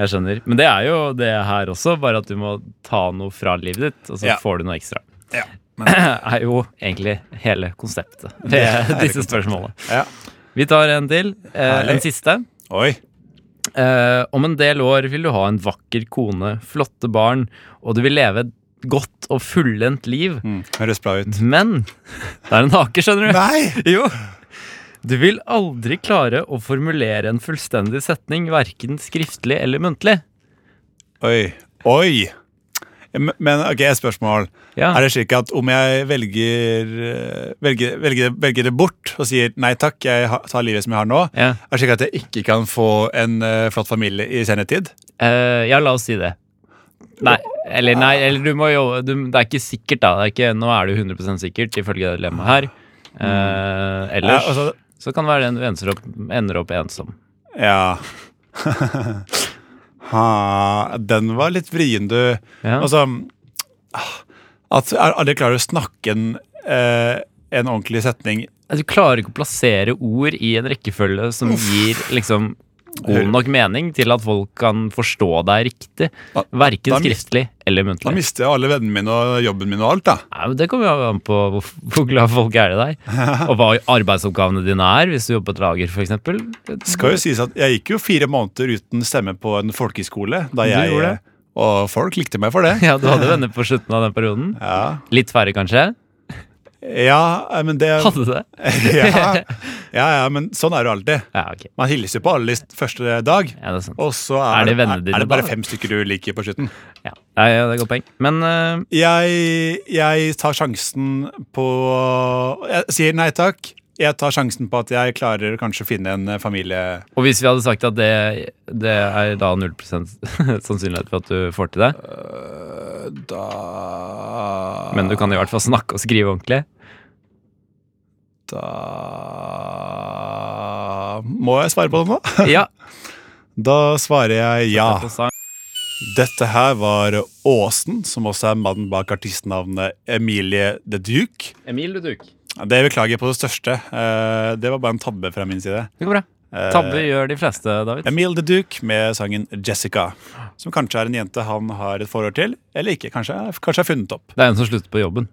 S3: jeg skjønner. Men det er jo det her også, bare at du må ta noe fra livet ditt, og så
S2: Ja.
S3: får du noe ekstra.
S2: Ja,
S3: er jo egentlig hele konseptet ved
S2: hele
S3: disse
S2: konseptet.
S3: spørsmålene.
S2: Ja.
S3: Vi tar en til. Eh,
S2: Herlig.
S3: en siste.
S2: Oi.
S3: Eh, om en del år vil du ha en vakker kone, flotte barn, og du vil leve et godt og fullendt liv.
S2: Mm, Høres bra ut.
S3: Men Det er en hake, skjønner du.
S2: Nei!
S3: Jo. Du vil aldri klare å formulere en fullstendig setning, verken skriftlig eller muntlig.
S2: Oi. Oi. Men men, ok, et spørsmål.
S3: Ja.
S2: Er det slik at om jeg velger, eh, velger, velger, velger det bort og sier nei takk, jeg ha- tar livet som jeg har nå,
S3: Ja.
S2: er det slik at jeg ikke kan få en eh, flott familie i senere tid?
S3: Eh, ja, la oss si det. Nei, eller nei, eller du må jo du, Det er ikke sikkert, da. Det er ikke, nå er det jo 100 sikkert, ifølge det dilemmaet her. Eh, ellers
S2: Ja, altså-
S3: så kan det være den du ender opp, ender opp ensom.
S2: Ja. ha, den var litt vrien, du.
S3: Ja.
S2: Altså ah, At er- alle klarer å snakke en, eh, en ordentlig setning.
S3: Altså, Du klarer ikke å plassere ord i en rekkefølge som gir liksom god nok mening til at folk kan forstå deg riktig.
S2: Da-
S3: Verken
S2: da mis-
S3: skriftlig eller
S2: Da
S3: muntlig.
S2: mister jeg alle vennene mine og jobben min og alt, da.
S3: Nei, men det kommer jo an på hvor, hvor glad folk er i deg, og hva arbeidsoppgavene dine er, hvis du jobber på et lager, f.eks.
S2: Skal jo sies at Jeg gikk jo fire måneder uten stemme på en folkehøyskole. Da jeg,
S3: gjorde det.
S2: Og folk likte meg for det.
S3: Ja, du hadde venner på slutten av den perioden.
S2: Ja,
S3: Litt færre, kanskje?
S2: ja eh, men det
S3: Hadde du det?
S2: ja, ja, ja, men sånn er det alltid.
S3: Ja, ok.
S2: Man hilser på alle i første dag.
S3: Ja, det er sant.
S2: Og så
S3: Er
S2: er,
S3: det
S2: det,
S3: vennene
S2: er,
S3: dine
S2: er det bare
S3: da?
S2: fem stykker du liker på slutten.
S3: Ja, ja, ja det er godt poeng. Men eh,
S2: jeg, jeg tar sjansen på Jeg sier nei takk. Jeg tar sjansen på at jeg klarer kanskje å finne en eh, familie.
S3: Og hvis vi hadde sagt at det, det er da 0 sannsynlighet for at du får til det,
S2: Da
S3: men du kan i hvert fall snakke og skrive ordentlig
S2: Da Må jeg svare på det nå?
S3: Ja.
S2: Da svarer jeg ja.
S3: på sang.
S2: Dette her var Åsen, som også er mannen bak artistnavnet Emilie The Duke.
S3: Emil Ludvig. Det
S2: Det beklager jeg på det største. Eh, Det var bare en tabbe fra min side.
S3: går bra.
S2: Eh,
S3: Tabber gjør de fleste, David.
S2: Emil The Duke med sangen Jessica, som kanskje er en jente han har et forhold til, eller ikke. Kanskje, kanskje er funnet opp.
S3: Det er en som slutter på jobben.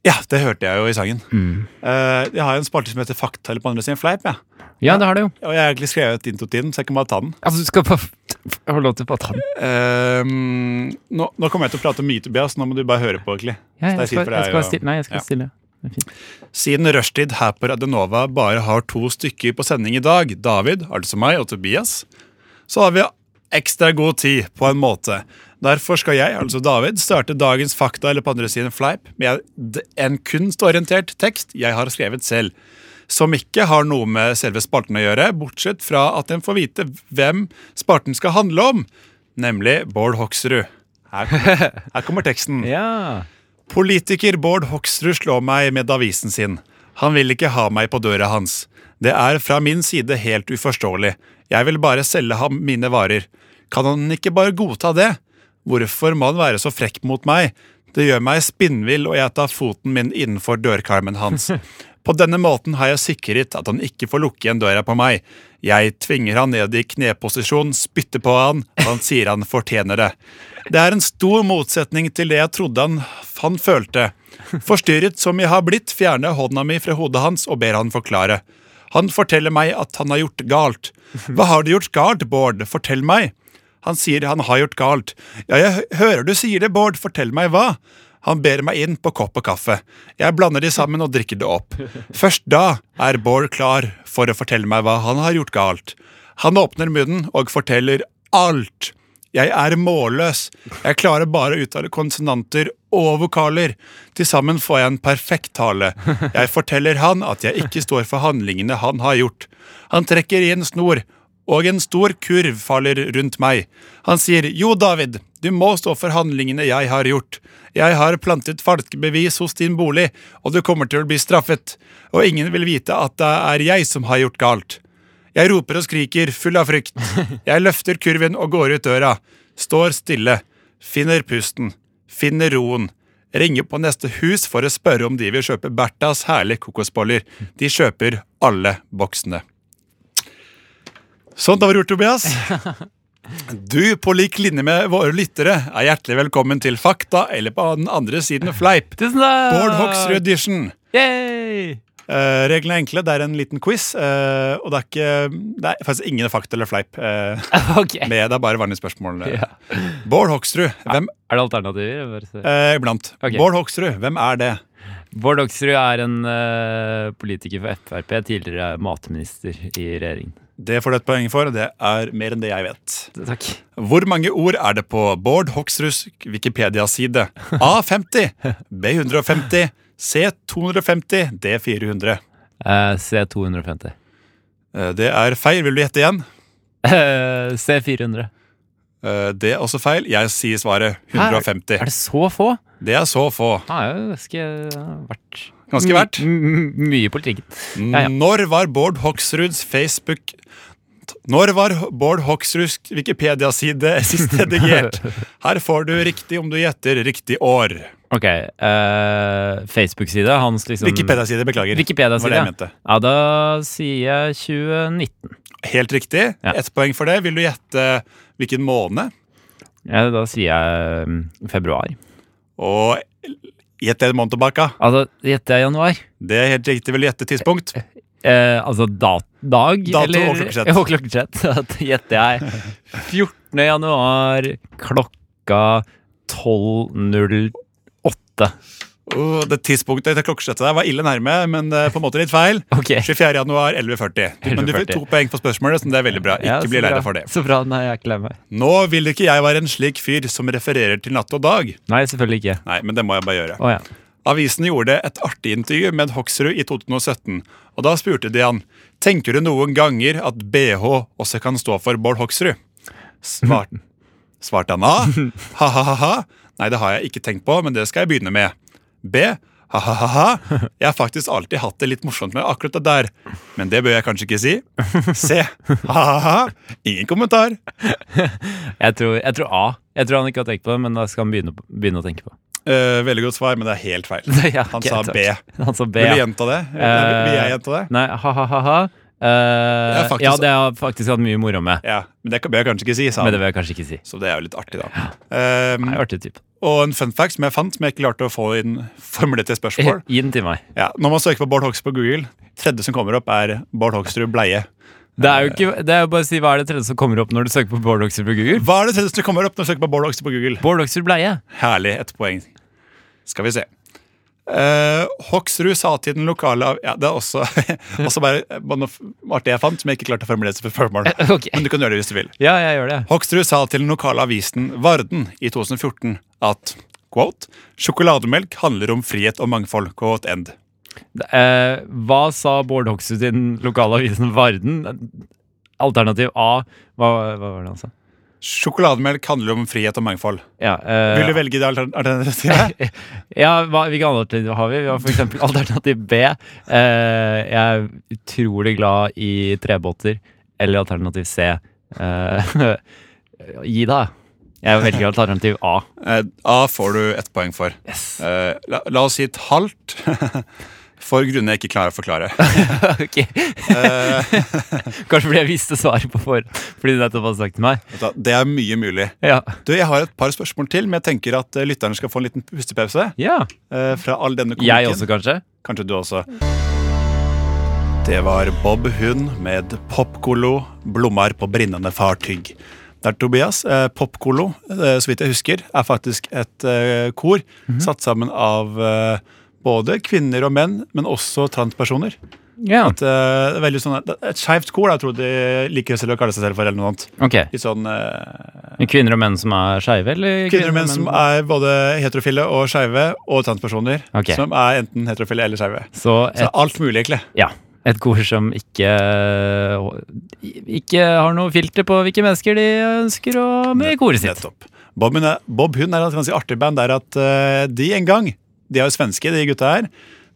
S2: Ja, det hørte jeg jo i sangen.
S3: Mm.
S2: Eh, jeg har en spalte som heter Fakta eller på andre siden fleip, jeg.
S3: Ja, det har du jo.
S2: Og jeg har egentlig skrevet intro til den, så jeg kan bare ta den.
S3: Altså, du skal bare Jeg har lov til å bare ta den.
S2: Eh, nå, nå kommer jeg til å prate mye, Tobias, nå må du bare høre på, egentlig.
S3: Ehm, Ja,
S2: Så det er
S3: jeg
S2: fint
S3: skal,
S2: for deg
S3: jeg skal være
S2: å-
S3: stille. Nei, jeg skal
S2: Ja.
S3: være stille. Det er fint.
S2: Siden rushtid her på Radionova bare har to stykker på sending i dag, David, altså meg og Tobias, så har vi ekstra god tid, på en måte. Derfor skal jeg, altså David, starte dagens fakta eller på andre siden fleip med d- en kunstorientert tekst jeg har skrevet selv, som ikke har noe med selve spalten å gjøre, bortsett fra at en får vite hvem spalten skal handle om, nemlig Bård Hoksrud. Her kommer, her kommer teksten.
S3: Ja.
S2: Politiker Bård Hoksrud slår meg med avisen sin. Han vil ikke ha meg på døra hans. Det er fra min side helt uforståelig. Jeg vil bare selge ham mine varer. Kan han ikke bare godta det? Hvorfor må han være så frekk mot meg? Det gjør meg spinnvill, og jeg tar foten min innenfor dørkarmen hans. På denne måten har jeg sikret at han ikke får lukke igjen døra på meg. Jeg tvinger han ned i kneposisjon, spytter på han, og han sier han fortjener det. Det er en stor motsetning til det jeg trodde han, han følte. Forstyrret som jeg har blitt, fjerner jeg hånda mi fra hodet hans og ber han forklare. Han forteller meg at han har gjort galt. Hva har du gjort galt, Bård? Fortell meg. Han sier han har gjort galt. Ja, jeg hø- hører du sier det, Bård, fortell meg hva? Han ber meg inn på kopp og kaffe. Jeg blander de sammen og drikker det opp. Først da er Bård klar for å fortelle meg hva han har gjort galt. Han åpner munnen og forteller alt. Jeg er målløs. Jeg klarer bare å uttale konsonanter og vokaler. Til sammen får jeg en perfekt tale. Jeg forteller han at jeg ikke står for handlingene han har gjort. Han trekker i en snor, og en stor kurv faller rundt meg. Han sier, jo, David, du må stå for handlingene jeg har gjort. Jeg har plantet falske bevis hos din bolig, og du kommer til å bli straffet. Og ingen vil vite at det er jeg som har gjort galt. Jeg roper og skriker, full av frykt. Jeg løfter kurven og går ut døra. Står stille. Finner pusten. Finner roen. Ringer på neste hus for å spørre om de vil kjøpe Berthas herlige kokosboller. De kjøper alle boksene. Sånn, da var det gjort, Tobias. Du, på lik linje med våre lyttere, er hjertelig velkommen til Fakta, eller på den andre siden Fleip.
S3: Tusen takk!
S2: Bård Hoksrud Edition.
S3: Yay!
S2: Eh, reglene er enkle. Det er en liten quiz. eh, og det er ikke Det er faktisk ingen fakta eller fleip. eh,
S3: Ok. Er
S2: med, det er bare vanlige spørsmål.
S3: Ja.
S2: Bård Hoksrud, hvem
S3: det alternativer? Jeg bare ser.
S2: eh, Iblant.
S3: Ok.
S2: Bård Hoksrud, hvem er det?
S3: Bård Hoksrud er en eh, politiker for Frp, tidligere matminister i regjeringen.
S2: Det får du et poeng for. og Det er mer enn det jeg vet.
S3: Takk.
S2: Hvor mange ord er det på Bård Hoksruds Wikipedia-side? A50, B150, C250, D400.
S3: Eh, C250.
S2: Eh, Det er feil. Vil du gjette igjen?
S3: Eh, C400.
S2: Eh, Det er også feil. Jeg sier svaret
S3: Her-
S2: 150.
S3: Er det så få?
S2: Det er så få.
S3: Han er jo ganske han har vært
S2: Ganske verdt.
S3: M- m- Mye i politikken. Ja, ja.
S2: Når var Bård Hoksruds Facebook Når var Bård Hoksruds Wikipedia-side sist redigert? Her får du riktig om du gjetter riktig år.
S3: Ok, eh, Facebook-side hans liksom
S2: Wikipedia-side, beklager. Det var det
S3: Wikipedia-side.
S2: jeg mente.
S3: Ja, da sier jeg 2019.
S2: Helt riktig.
S3: Ja.
S2: Ett poeng for det. Vil du gjette hvilken måned?
S3: Ja, da sier jeg mm, februar.
S2: Og gjett en måned tilbake.
S3: Altså, gjetter jeg januar?
S2: Det er helt riktig. Vil du gjette tidspunkt?
S3: Eh, altså da, dag?
S2: Dato og
S3: eller-
S2: klokkeslett.
S3: Ja, Og klokkeslett. Da gjetter jeg 14. januar klokka 12.08.
S2: Åh, Oh, det tidspunktet til klokkeslettet der var ille nærme, men eh, på en måte litt feil.
S3: Ok.
S2: 24. januar 11.40. Du- Men du fikk
S3: 11.40.
S2: to poeng for spørsmålet, så det er veldig bra.
S3: Ja, så
S2: Ikke bli lei
S3: bra.
S2: deg for det.
S3: Så bra. Nei, jeg er ikke lei meg.
S2: Nå vil ikke jeg være en slik fyr som refererer til natt og dag.
S3: Nei, selvfølgelig ikke.
S2: Nei, men det må jeg bare gjøre.
S3: Å ja.
S2: Avisen gjorde et artig intervju med Hoksrud i 2017, og da spurte de han Tenker du noen ganger at BH også kan stå for Bård Hoksrud. Svart, svarte han A. Ha-ha-ha. Nei, det har jeg ikke tenkt på, men det skal jeg begynne med. B. Ha-ha-ha. Jeg har faktisk alltid hatt det litt morsomt med akkurat det der, men det bør jeg kanskje ikke si. C. Ha-ha-ha. Ingen kommentar.
S3: Jeg tror, jeg tror A. Jeg tror han ikke har tenkt på det, men da skal han begynne, begynne å tenke på det.
S2: Eh, veldig godt svar, men det er helt feil.
S3: Ja,
S2: Han
S3: ok,
S2: sa
S3: takk.
S2: B.
S3: Han sa B.
S2: Vil du
S3: ja.
S2: gjenta det? Eller vil- vil jeg
S3: Eh,
S2: gjenta det?
S3: Nei, ha-ha-ha.
S2: Jeg har faktisk-
S3: Eh, ja, det har jeg faktisk hatt mye moro med.
S2: Ja, Men det kan- bør jeg kanskje ikke si, sa
S3: Men det
S2: han.
S3: vil jeg kanskje ikke si.
S2: Så det er jo litt artig, da.
S3: Jeg
S2: Ehm,
S3: er artig type.
S2: og en fun fact som jeg fant, som jeg ikke klarte å få inn formulert til spørsmål.
S3: Gi den til meg.
S2: Ja, Når man søker på Bård Hoksrud på Google, tredje som kommer opp, er Bård Hoksrud bleie.
S3: Det er jo ikke, det er jo bare å si hva er det tredje som kommer opp når du søker på Bård Hoksrud på Google?
S2: Hva er det tredje som kommer opp når du søker på Bård Hoksrud på Google?
S3: Bård Hoksrud bleie.
S2: Herlig, ett poeng. Skal vi se. Eh, Hoksrud sa til den lokale av- Ja, det er også, også bare, bare noe f- artig jeg fant, som jeg ikke klarte å formulere til spørsmål.
S3: Ok.
S2: Men du kan gjøre det hvis du vil.
S3: Ja, jeg gjør det.
S2: Hoksrud sa til den lokale avisen Varden i 2014 at quote, sjokolademelk handler om frihet og mangfold. Quote end.
S3: Eh, hva sa Bård Hoksrud til den lokale avisen Varden? Alternativ A. Hva, hva var det han sa?
S2: Sjokolademelk handler om frihet og mangfold.
S3: Ja, eh,
S2: Vil du velge det altern- alternativet?
S3: Ja, hva, hvilke alternativer har vi? Vi har for eksempel alternativ B. Eh, jeg er utrolig glad i trebåter. Eller alternativ C. Eh, gi deg. Jeg velger alternativ A.
S2: Eh, A får du ett poeng for.
S3: Yes.
S2: Eh, la, la oss si et halvt. For grunner jeg ikke klarer å forklare.
S3: Ok.
S2: Eh,
S3: Kanskje fordi jeg visste svaret på forhånd. Fordi du nettopp hadde sagt til meg.
S2: vet du hva, det er mye mulig.
S3: Ja.
S2: Du, Jeg har et par spørsmål til, men jeg tenker at eh, lytterne skal få en liten pustepause.
S3: ja.
S2: eh, fra all denne
S3: Jeg
S2: komikken.
S3: også, kanskje?
S2: Kanskje du også. Det var Bob Hund med Popkolo, blommar på brinnende fartyg. Der Tobias, eh, Popkolo, eh, så vidt jeg husker, er faktisk et eh, kor satt sammen av eh, både kvinner og menn, men også transpersoner.
S3: Ja.
S2: At, eh, det er veldig sånn, det er et skeivt kor, da, jeg tror de liker selv å kalle seg selv for, eller noe annet.
S3: Ok.
S2: Litt sånn eh,
S3: Men Kvinner og menn som er skeive, eller?
S2: kvinner og menn som er både heterofile og skeive, og transpersoner.
S3: Ok.
S2: Som er enten heterofile eller skeive.
S3: Så
S2: Så
S3: et,
S2: alt mulig, egentlig.
S3: ja. Et kor som ikke Ikke har noe filter på hvilke mennesker de ønsker å med i koret sitt.
S2: Nettopp. Bob, hun er, Bob Hund er et ganske artig band der at eh, de en gang, de er jo svenske, de gutta her,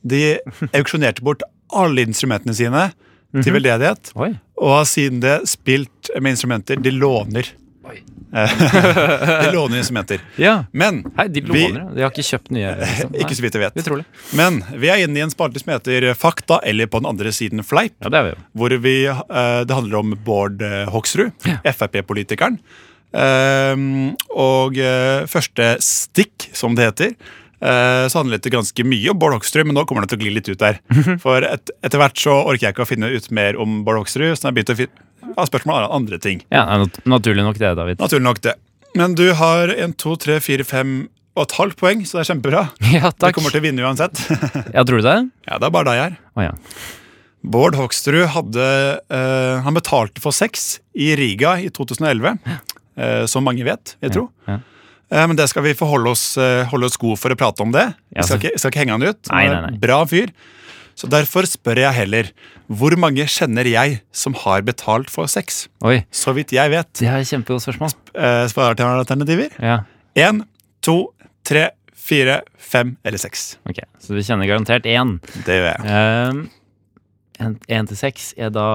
S2: de auksjonerte bort alle instrumentene sine til
S3: Mhm.
S2: veldedighet,
S3: Oi.
S2: og har siden det spilt med instrumenter de låner. de låner instrumenter.
S3: Ja.
S2: Men
S3: Hei, de
S2: vi- Eh,
S3: låner, ja. de har ikke kjøpt nye. Liksom.
S2: Ikke så vidt jeg vet.
S3: Nei, Utrolig.
S2: Men vi er inne i en spalte som heter Fakta, eller på den andre siden Fleip.
S3: Ja, det er vi jo.
S2: hvor vi, eh, det handler om Bård eh, Hoksrud,
S3: Ja.
S2: Frp-politikeren. Ehm, og eh, første stikk, som det heter, eh, så handlet det ganske mye om Bård Hoksrud, men nå kommer det til å gli litt ut der. For et, etter hvert så orker jeg ikke å finne ut mer om Bård Hoksrud, så jeg har begynt å finne ja, spørsmål om andre ting.
S3: Ja, nei, nat- naturlig nok det, David.
S2: Naturlig nok det. Men du har en, to, tre, fire, fem og et halvt poeng, så det er kjempebra.
S3: Ja,
S2: Du
S3: takk.
S2: kommer til å vinne uansett.
S3: Ja, tror du det?
S2: ja, det er bare deg her.
S3: Å ja.
S2: Bård Hoksrud hadde eh, Han betalte for sex i Riga i 2011. eh, som mange vet, jeg tror.
S3: ja.
S2: Eh, men det skal vi forholde oss, eh, holde oss gode for å prate om det.
S3: Ja,
S2: Vi skal
S3: så-
S2: ikke, skal ikke henge han ut. Han
S3: Nei,
S2: er
S3: nei, nei.
S2: en Bra fyr. Så derfor spør jeg heller hvor mange kjenner jeg som har betalt for sex?
S3: Oi.
S2: Så vidt jeg vet.
S3: Det er et kjempegodt spørsmål.
S2: Eh, Svarer til alternativer.
S3: Ja.
S2: Én, to, tre, fire, fem eller seks.
S3: Ok, så du kjenner garantert én.
S2: Det gjør jeg.
S3: Ehm, en- Én til seks er da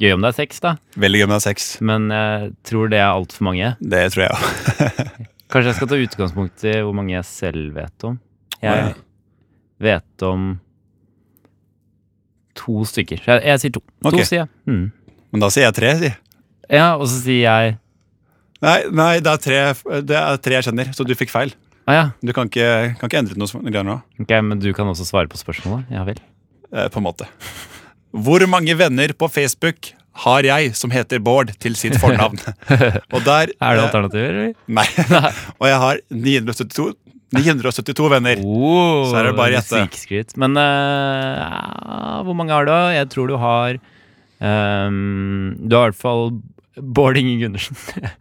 S3: Gøy om det er seks, da,
S2: Veldig gøy med sex.
S3: men jeg tror det er altfor mange.
S2: Det tror jeg òg.
S3: Kanskje jeg skal ta utgangspunkt i hvor mange jeg selv vet om.
S2: Ja.
S3: Jeg vet om to stykker. Så jeg, jeg sier to.
S2: Ok.
S3: To, sier jeg. Mm.
S2: Men da sier jeg tre, si.
S3: Ja, og så sier jeg
S2: Nei, nei det, er tre, det er tre jeg kjenner, så du fikk feil.
S3: Å ja.
S2: Du kan ikke, kan ikke endre noe som- greier nå.
S3: Ok, men du kan også svare på spørsmålet. Ja vel.
S2: eh, På en måte. Hvor mange venner på Facebook har jeg som heter Bård til sitt fornavn? Og der
S3: Er det
S2: eh,
S3: alternativer, eller?
S2: Nei. Og jeg har 972, 972 venner.
S3: Oh,
S2: Så er det bare å gjette.
S3: snikskryt. Men eh, ja, hvor mange har du? Jeg tror du har ehm, Du har i hvert fall Bård Inge Gundersen.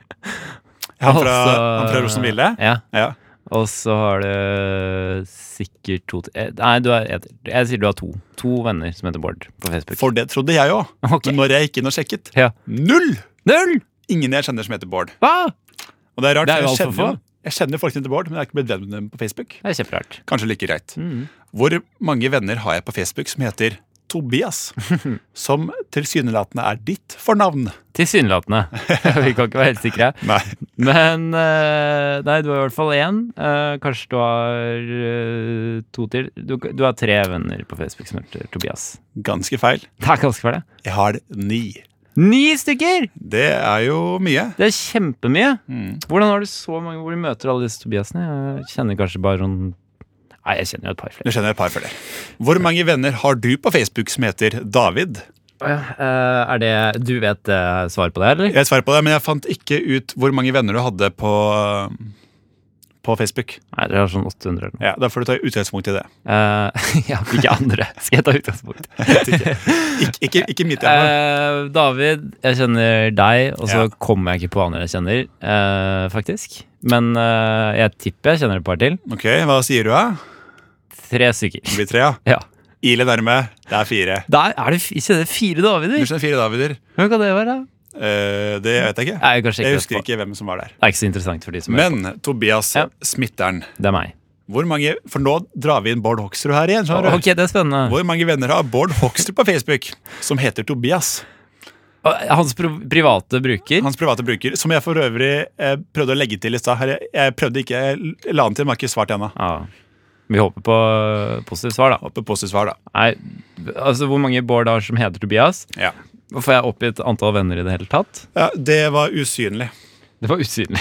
S2: Han
S3: Og
S2: fra,
S3: så-
S2: han fra Rosenville.
S3: Ja.
S2: Ja.
S3: Og så har du sikkert to til. eh, Nei, du har, jeg, jeg sier du har to. To venner som heter Bård på Facebook.
S2: For det trodde jeg òg.
S3: Ok.
S2: Men når jeg gikk inn og sjekket
S3: Ja.
S2: null!
S3: Null!
S2: Ingen jeg kjenner som heter Bård.
S3: Hva?
S2: Og det er rart,
S3: Det er
S2: for
S3: jo
S2: jeg,
S3: alt for
S2: kjenner,
S3: få.
S2: jo- jeg kjenner folk som heter Bård, men jeg er ikke blitt venn med dem på Facebook.
S3: Det er kjemperart.
S2: Kanskje like greit. Hvor mange venner har jeg på Facebook som heter Tobias? Som tilsynelatende er ditt fornavn.
S3: Tilsynelatende. Vi kan ikke være helt sikre.
S2: Nei.
S3: Men eh, Nei, du har i hvert fall én. Eh, kanskje du har eh, to til. Du, du har tre venner på Facebook som heter Tobias.
S2: Ganske feil.
S3: Det er ganske feil, det.
S2: Jeg har ni.
S3: Ni stykker!
S2: Det er jo mye.
S3: Det er kjempemye. Hvordan har du så mange hvor du møter alle disse Tobiasene? Jeg kjenner kanskje bare sånn Nei, jeg kjenner jo et par
S2: Du
S3: flere.
S2: skjønner et par flere. Hvor mange venner har du på Facebook som heter David?
S3: Eh, er det Du vet eh, svaret på det, eller?
S2: Jeg svarer på det, men jeg fant ikke ut hvor mange venner du hadde på, på Facebook.
S3: Nei, dere har sånn 800 eller noe.
S2: Ja, Da får du ta utgangspunkt i det.
S3: Eh, ja, hvilke andre skal jeg ta utgangspunkt i?
S2: Ikke, ikke, ikke mitt hjemme.
S3: Eh, David, jeg kjenner deg, og så
S2: Ja.
S3: kommer jeg ikke på andre jeg kjenner, eh, faktisk. Men eh, jeg tipper jeg kjenner et par til.
S2: Ok, hva sier du, da?
S3: Tre stykker.
S2: Det blir tre, ja.
S3: Ja.
S2: Ile nærme. Det er fire.
S3: Der er det, f- ikke det fire
S2: Du
S3: Davider?
S2: skjønner fire Davider.
S3: Hvem kan det være? da?
S2: Eh, det vet jeg ikke.
S3: Nei, kanskje
S2: Jeg
S3: ikke
S2: husker
S3: etterpå.
S2: ikke hvem som var der.
S3: Det er ikke så interessant for de som hører på.
S2: Men Tobias
S3: Ja.
S2: Smitteren.
S3: Det er meg.
S2: Hvor mange, For nå drar vi inn Bård Hoksrud her igjen. skjønner du?
S3: Ok, det er spennende.
S2: Hvor mange venner har Bård Hoksrud på Facebook som heter Tobias?
S3: Og eh, Hans pro- private bruker?
S2: Hans private bruker, som jeg for øvrig eh, prøvde å legge til i stad. her. Jeg, jeg prøvde ikke, jeg la den til, men har ikke svart ennå.
S3: Ja. Vi håper på eh, positivt svar, da.
S2: Håper positivt svar, da.
S3: Nei, altså Hvor mange Bård har som heter Tobias?
S2: Ja.
S3: Får jeg oppgitt antall venner i det hele tatt?
S2: ja. Det var usynlig.
S3: Det var usynlig.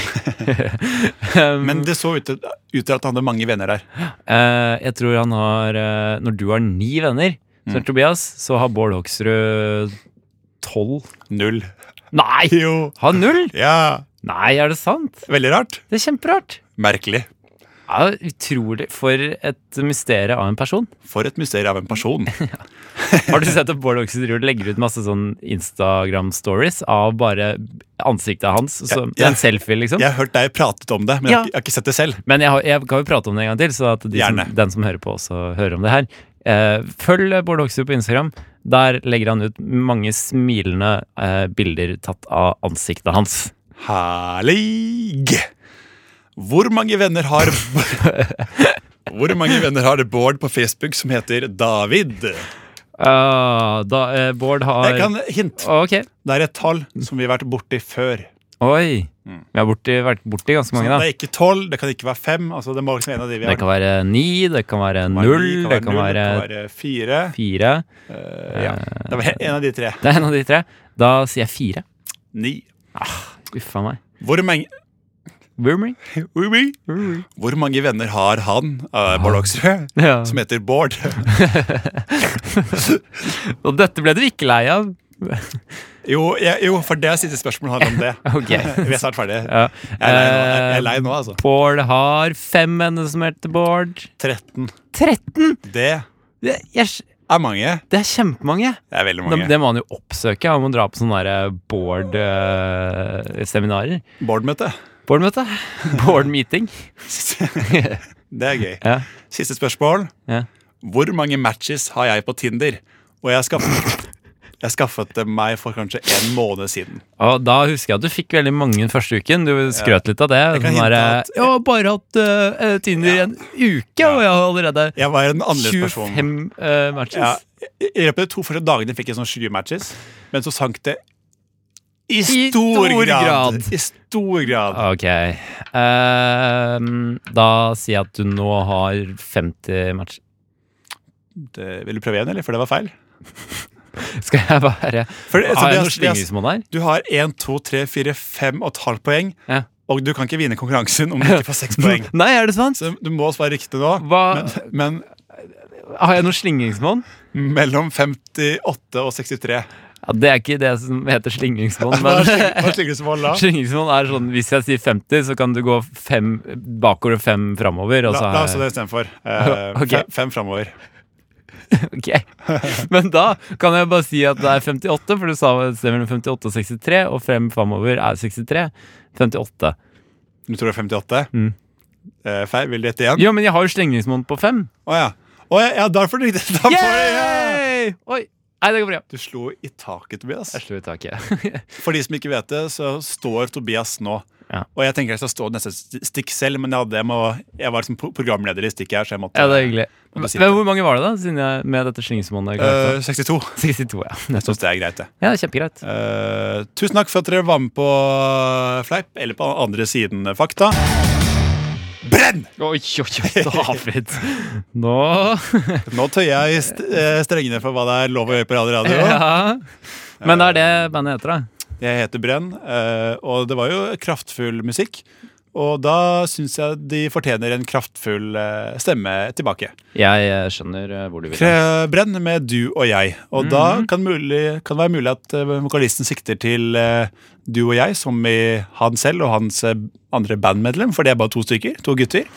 S2: Men det så ut til, ut til at han hadde mange venner der.
S3: Eh, jeg tror han har eh, Når du har ni venner, som
S2: Mm.
S3: er Tobias, så har Bård Hoksrud tolv.
S2: Null.
S3: Nei!
S2: Jo.
S3: Har null?
S2: Ja.
S3: Nei, er det sant?
S2: Veldig rart.
S3: Det er kjemperart.
S2: Merkelig.
S3: Ja, utrolig. For et mysterium av en person.
S2: For et mysterium av en person.
S3: Har du sett at Bård Hoksrud driver og legger ut masse sånn Instagram-stories av bare ansiktet hans? Som,
S2: Ja, ja.
S3: En selfie, liksom?
S2: Jeg har hørt deg pratet om det, men jeg,
S3: Ja.
S2: har ikke- jeg har ikke sett det selv.
S3: Men jeg, har, jeg kan jo prate om det en gang til, så at de som,
S2: Gjerne.
S3: den som hører på, også hører om det her. Eh, følg Bård Hoksrud på Instagram. Der legger han ut mange smilende eh, bilder tatt av ansiktet hans.
S2: Herlig! Hvor mange venner har Hvor mange venner har Bård på Facebook som heter David?
S3: Ah, da, eh, Bård har
S2: Jeg kan hint.
S3: Ok.
S2: Det er et tall som vi har vært borti før.
S3: Oi.
S2: Mm.
S3: Vi har borti, vært borti ganske mange,
S2: Det
S3: da.
S2: er ikke tolv, det kan ikke være fem. Altså, det må liksom være en av de Sånn vi
S3: Det
S2: har. Sånn
S3: kan være ni, det kan være
S2: Det kan være
S3: null,
S2: ni,
S3: det
S2: null,
S3: kan være
S2: det kan være fire.
S3: fire.
S2: Eh, ja. Det var en av de tre.
S3: Det er en av de tre. Da sier jeg fire.
S2: Ni.
S3: Uffa meg.
S2: Hvor mange,
S3: Boomerang.
S2: hvor mange venner har han, eh, Bård Hoksrud,
S3: Ja.
S2: som heter Bård?
S3: Og dette ble du ikke lei av.
S2: Jo, jeg, jo for det er siste spørsmål handler om det.
S3: Ok.
S2: Vi er snart ferdige.
S3: Ja. Eh.
S2: Jeg er lei nå, jeg, jeg er lei nå altså.
S3: Bård har fem venner som heter Bård.
S2: 13.
S3: 13!
S2: Det
S3: Det, jeg,
S2: er mange.
S3: det er kjempemange.
S2: Det er veldig
S3: Det,
S2: mange.
S3: det må han jo oppsøke. Han må dra på sånne der eh, Bård-seminarer.
S2: Bård-møte.
S3: Bård-møte. Bård-meeting.
S2: Det er gøy.
S3: Ja.
S2: Siste spørsmål.
S3: Ja.
S2: Hvor mange matches har jeg på Tinder? Og jeg har skaffet, jeg skaffet det meg for kanskje en måned siden.
S3: Og da husker jeg at du fikk veldig mange den første uken. Du skrøt litt av det.
S2: kan
S3: Sånn der,
S2: hinte at-
S3: jeg har bare hatt eh, Tinder i en uke, og jeg har allerede
S2: Jeg var en annerledes person.
S3: 25 eh, matches.
S2: Ja, I i løpet av de to første dagene fikk jeg sånn 20 matches, men så sank det i stor,
S3: stor
S2: grad.
S3: grad.
S2: I stor grad.
S3: Ok. Ehm, da sier jeg at du nå har 50 matcher.
S2: Det, Eh, vil du prøve igjen, eller? For det var feil.
S3: Skal jeg bare
S2: For, det- så altså,
S3: Har
S2: det
S3: jeg
S2: er-
S3: noen
S2: det er-
S3: slyngismål der?
S2: du har 1, 2, 3, 4, 5 og et halvt poeng,
S3: Ja.
S2: og du kan ikke vinne konkurransen om du ikke får 6 poeng.
S3: Nei, er det sant?
S2: Så du må svare riktig nå.
S3: Hva-
S2: Men,
S3: Har jeg noen slyngingsmål?
S2: men mellom 58 og 63.
S3: Ja, det er ikke det som heter slyngingsmål,
S2: Hva
S3: men
S2: er slingringsmål da?
S3: slyngingsmål er sånn hvis jeg sier 50, så kan du gå fem bakover og fem framover. Og
S2: La,
S3: så
S2: la oss ha
S3: har jeg-
S2: det istedenfor. Uh,
S3: altså, Ok.
S2: Fem, fem framover.
S3: Ok. Men da kan jeg bare si at det er 58, for du sa et sted mellom 58 og 63, og frem framover er 63. 58.
S2: Du tror det er 58?
S3: Mm.
S2: Eh, feil. Vil du gjette igjen?
S3: Jo, men jeg har jo slyngingsmål på fem.
S2: Å ja. Å ja, ja, derfor du riktig. Da får jeg- ja.
S3: Yay! Oi. Nei, det går bra.
S2: Du slo i taket, Tobias.
S3: Jeg slo i taket.
S2: For de som ikke vet det, så står Tobias nå.
S3: Ja.
S2: Og jeg tenker jeg skal stå neste st- stikk selv, men jeg, hadde, jeg, må, jeg var liksom pro- programleder i stikket her, så jeg måtte
S3: ja, det er hyggelig.
S2: Må du sitte?
S3: Men hvor mange var det, da? Siden jeg med dette slyngingsmålet?
S2: Eh, 62.
S3: 62, ja.
S2: Jeg syns det er greit, det.
S3: Ja, kjempegreit.
S2: Eh, tusen takk for at dere var med på eh, Fleip, eller på andre siden eh, fakta. Brenn!
S3: Oi, oi, oi, David. Nå
S2: Nå tøyer jeg st eh, strengene for hva det er lov å gjøre på Radio Radio.
S3: ja. Men det er det bandet heter, da.
S2: Jeg heter Brenn, eh, og det var jo kraftfull musikk. Og da syns jeg de fortjener en kraftfull eh, stemme tilbake.
S3: Jeg eh, skjønner eh, hvor du vil.
S2: Kre- Brenn med du og jeg. Og
S3: Mhm.
S2: da kan, mulig, kan det være mulig at eh, vokalisten sikter til eh, du og jeg, som i han selv og hans eh, andre bandmedlem, for det er bare to stykker. To gutter.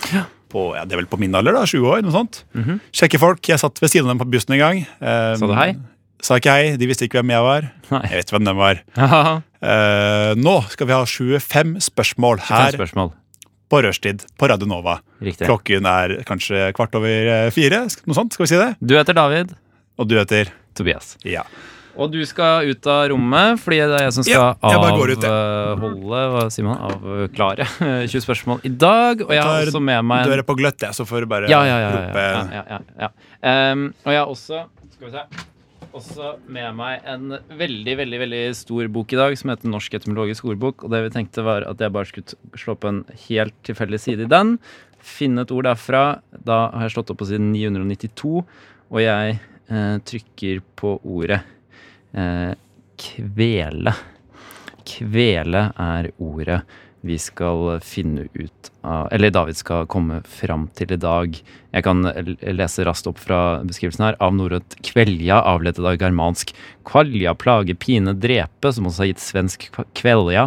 S2: På, ja, det er vel på min alder, da. 20 år, noe sånt. Sjekke folk. Jeg satt ved siden av dem på bussen en gang. Eh,
S3: Mhm. Sa du hei?
S2: Sa ikke hei. De visste ikke hvem jeg var.
S3: Nei.
S2: Jeg vet hvem de var.
S3: Haha,
S2: Eh, nå skal vi ha 25 spørsmål
S3: Fem
S2: her
S3: spørsmål.
S2: på rushtid på Radio Nova.
S3: Riktig.
S2: Klokken er kanskje kvart over eh, fire, sk- noe sånt. Skal vi si det?
S3: Du heter David.
S2: Og du heter
S3: Tobias.
S2: Ja.
S3: Og du skal ut av rommet, fordi det er jeg som skal
S2: Ja, jeg bare går ut, jeg.
S3: avholde Hva sier man? Avklare 20 spørsmål i dag. Og jeg har
S2: tar
S3: også med meg en
S2: døra på gløtt, jeg, så får du bare
S3: Ja, ja, ja. ja,
S2: rope
S3: ja, ja, ja, ja. Ehm, og jeg har også Skal vi se. også med meg en veldig veldig, veldig stor bok i dag som heter Norsk etymologisk ordbok. Og det vi tenkte var at jeg bare skulle slå på en helt tilfeldig side i den. Finne et ord derfra. Da har jeg slått opp på siden 992, og jeg eh, trykker på ordet eh, kvele. Kvele er ordet vi skal finne ut av Eller David skal komme fram til i dag. Jeg kan l- lese raskt opp fra beskrivelsen her. Av norrønt kvelja, avledet av germansk kvalja, plage, pine, drepe, som også har gitt svensk kva- kvelja.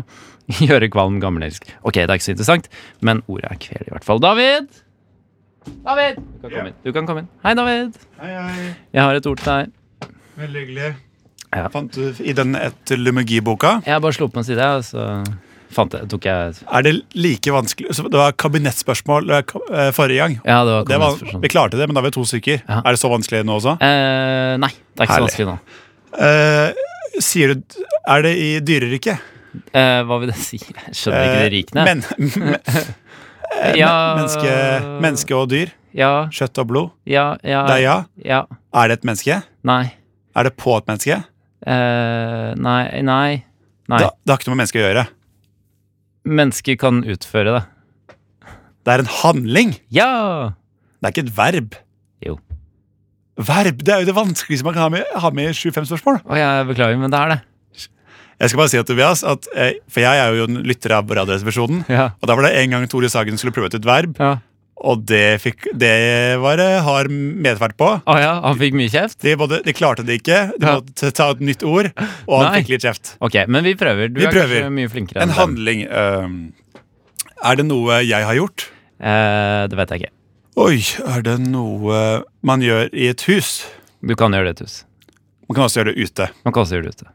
S3: Gjøre kvalm, gammelelsk. Ok, det er ikke så interessant, men ordet er kvel i hvert fall. David! David! Du kan komme inn. Du kan komme inn. Hei, David.
S2: Hei, hei.
S3: Jeg har et ord til deg.
S2: Veldig hyggelig.
S3: Ja.
S2: Fant du i den etymologiboka?
S3: Jeg har bare slo på en side, og så fant jeg, tok jeg
S2: Er det like vanskelig så Det var kabinettspørsmål eh, ka- eh, forrige gang.
S3: Ja, det var,
S2: Det var,
S3: kommet-
S2: vi klarte det, men da er vi to stykker.
S3: Ja.
S2: Er det så vanskelig nå også?
S3: Eh, nei, det er ikke så
S2: Herlig.
S3: vanskelig nå.
S2: Eh, sier du Er det i dyreriket? Eh,
S3: Eh, hva vil det si? Jeg skjønner ikke det rikene.
S2: men, men, eh,
S3: Ja.
S2: menneske, menneske og dyr.
S3: ja,
S2: Kjøtt og blod.
S3: ja, ja,
S2: Deia.
S3: ja.
S2: Er det et menneske?
S3: Nei.
S2: Er det på et menneske?
S3: Eh, nei. Nei. nei.
S2: Da, det har ikke noe med menneske å gjøre.
S3: Mennesker kan utføre det.
S2: Det er en handling.
S3: Ja!
S2: Det er ikke et verb.
S3: Jo.
S2: Verb det er jo det vanskeligste man kan ha med, ha med i 7-5 spørsmål.
S3: Og jeg beklager, men det er det.
S2: Jeg skal bare si at Tobias, at, eh, for jeg er jo en lytter av Radioresepsjonen.
S3: Ja.
S2: Og da var det en gang Tore Sagen skulle prøve ut et verb,
S3: ja.
S2: og det, fikk, det var det hard medferd på.
S3: Å ja, han fikk mye kjeft?
S2: De, både, de klarte det ikke. De
S3: Ja.
S2: måtte ta et nytt ord, og han
S3: Nei.
S2: fikk litt kjeft.
S3: Ok, men vi prøver. Du
S2: Vi
S3: er
S2: prøver.
S3: kanskje mye flinkere
S2: En
S3: enn dem.
S2: handling øhm, Er det noe jeg har gjort?
S3: Eh, det vet jeg ikke.
S2: Oi, er det noe man gjør i et hus?
S3: Du kan gjøre det, Tus.
S2: Man kan også gjøre det ute.
S3: Man kan også gjøre det ute.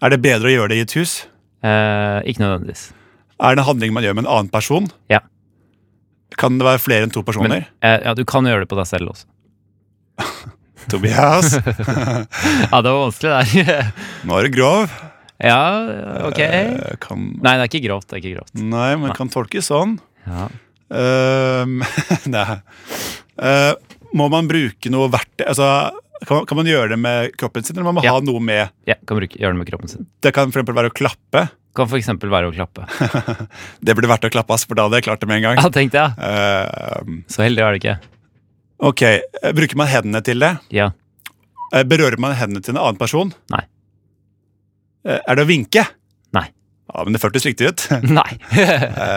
S2: Er det bedre å gjøre det i et hus?
S3: Eh, ikke nødvendigvis.
S2: Er det en handling man gjør med en annen person?
S3: Ja.
S2: Kan det være flere enn to personer?
S3: Eh, ja, du kan gjøre det på deg selv også.
S2: Tobias,
S3: Ja, det var vanskelig der.
S2: nå er du grov.
S3: ja, ok.
S2: Eh, kan,
S3: Nei, det er ikke grovt. Det er ikke grovt.
S2: nei, men kan tolkes sånn.
S3: Ja.
S2: Ehm, nei. Eh, må man bruke noe verktøy? Altså, kan, kan man gjøre det med kroppen sin, eller må man
S3: Ja.
S2: ha noe med
S3: Ja, kan bruke, gjøre det med kroppen sin.
S2: Det kan for eksempel være å klappe.
S3: Kan f.eks. være å klappe.
S2: Det burde vært å klappe, ass, for da hadde jeg klart det med en gang.
S3: Ja, tenkte jeg.
S2: Ehm,
S3: Så heldig er det ikke.
S2: ok, eh, Bruker man hendene til det?
S3: Ja.
S2: Eh, Berører man hendene til en annen person?
S3: Nei.
S2: Eh, Er det å vinke?
S3: Nei.
S2: Ja, Men det hørtes riktig ut.
S3: Nei.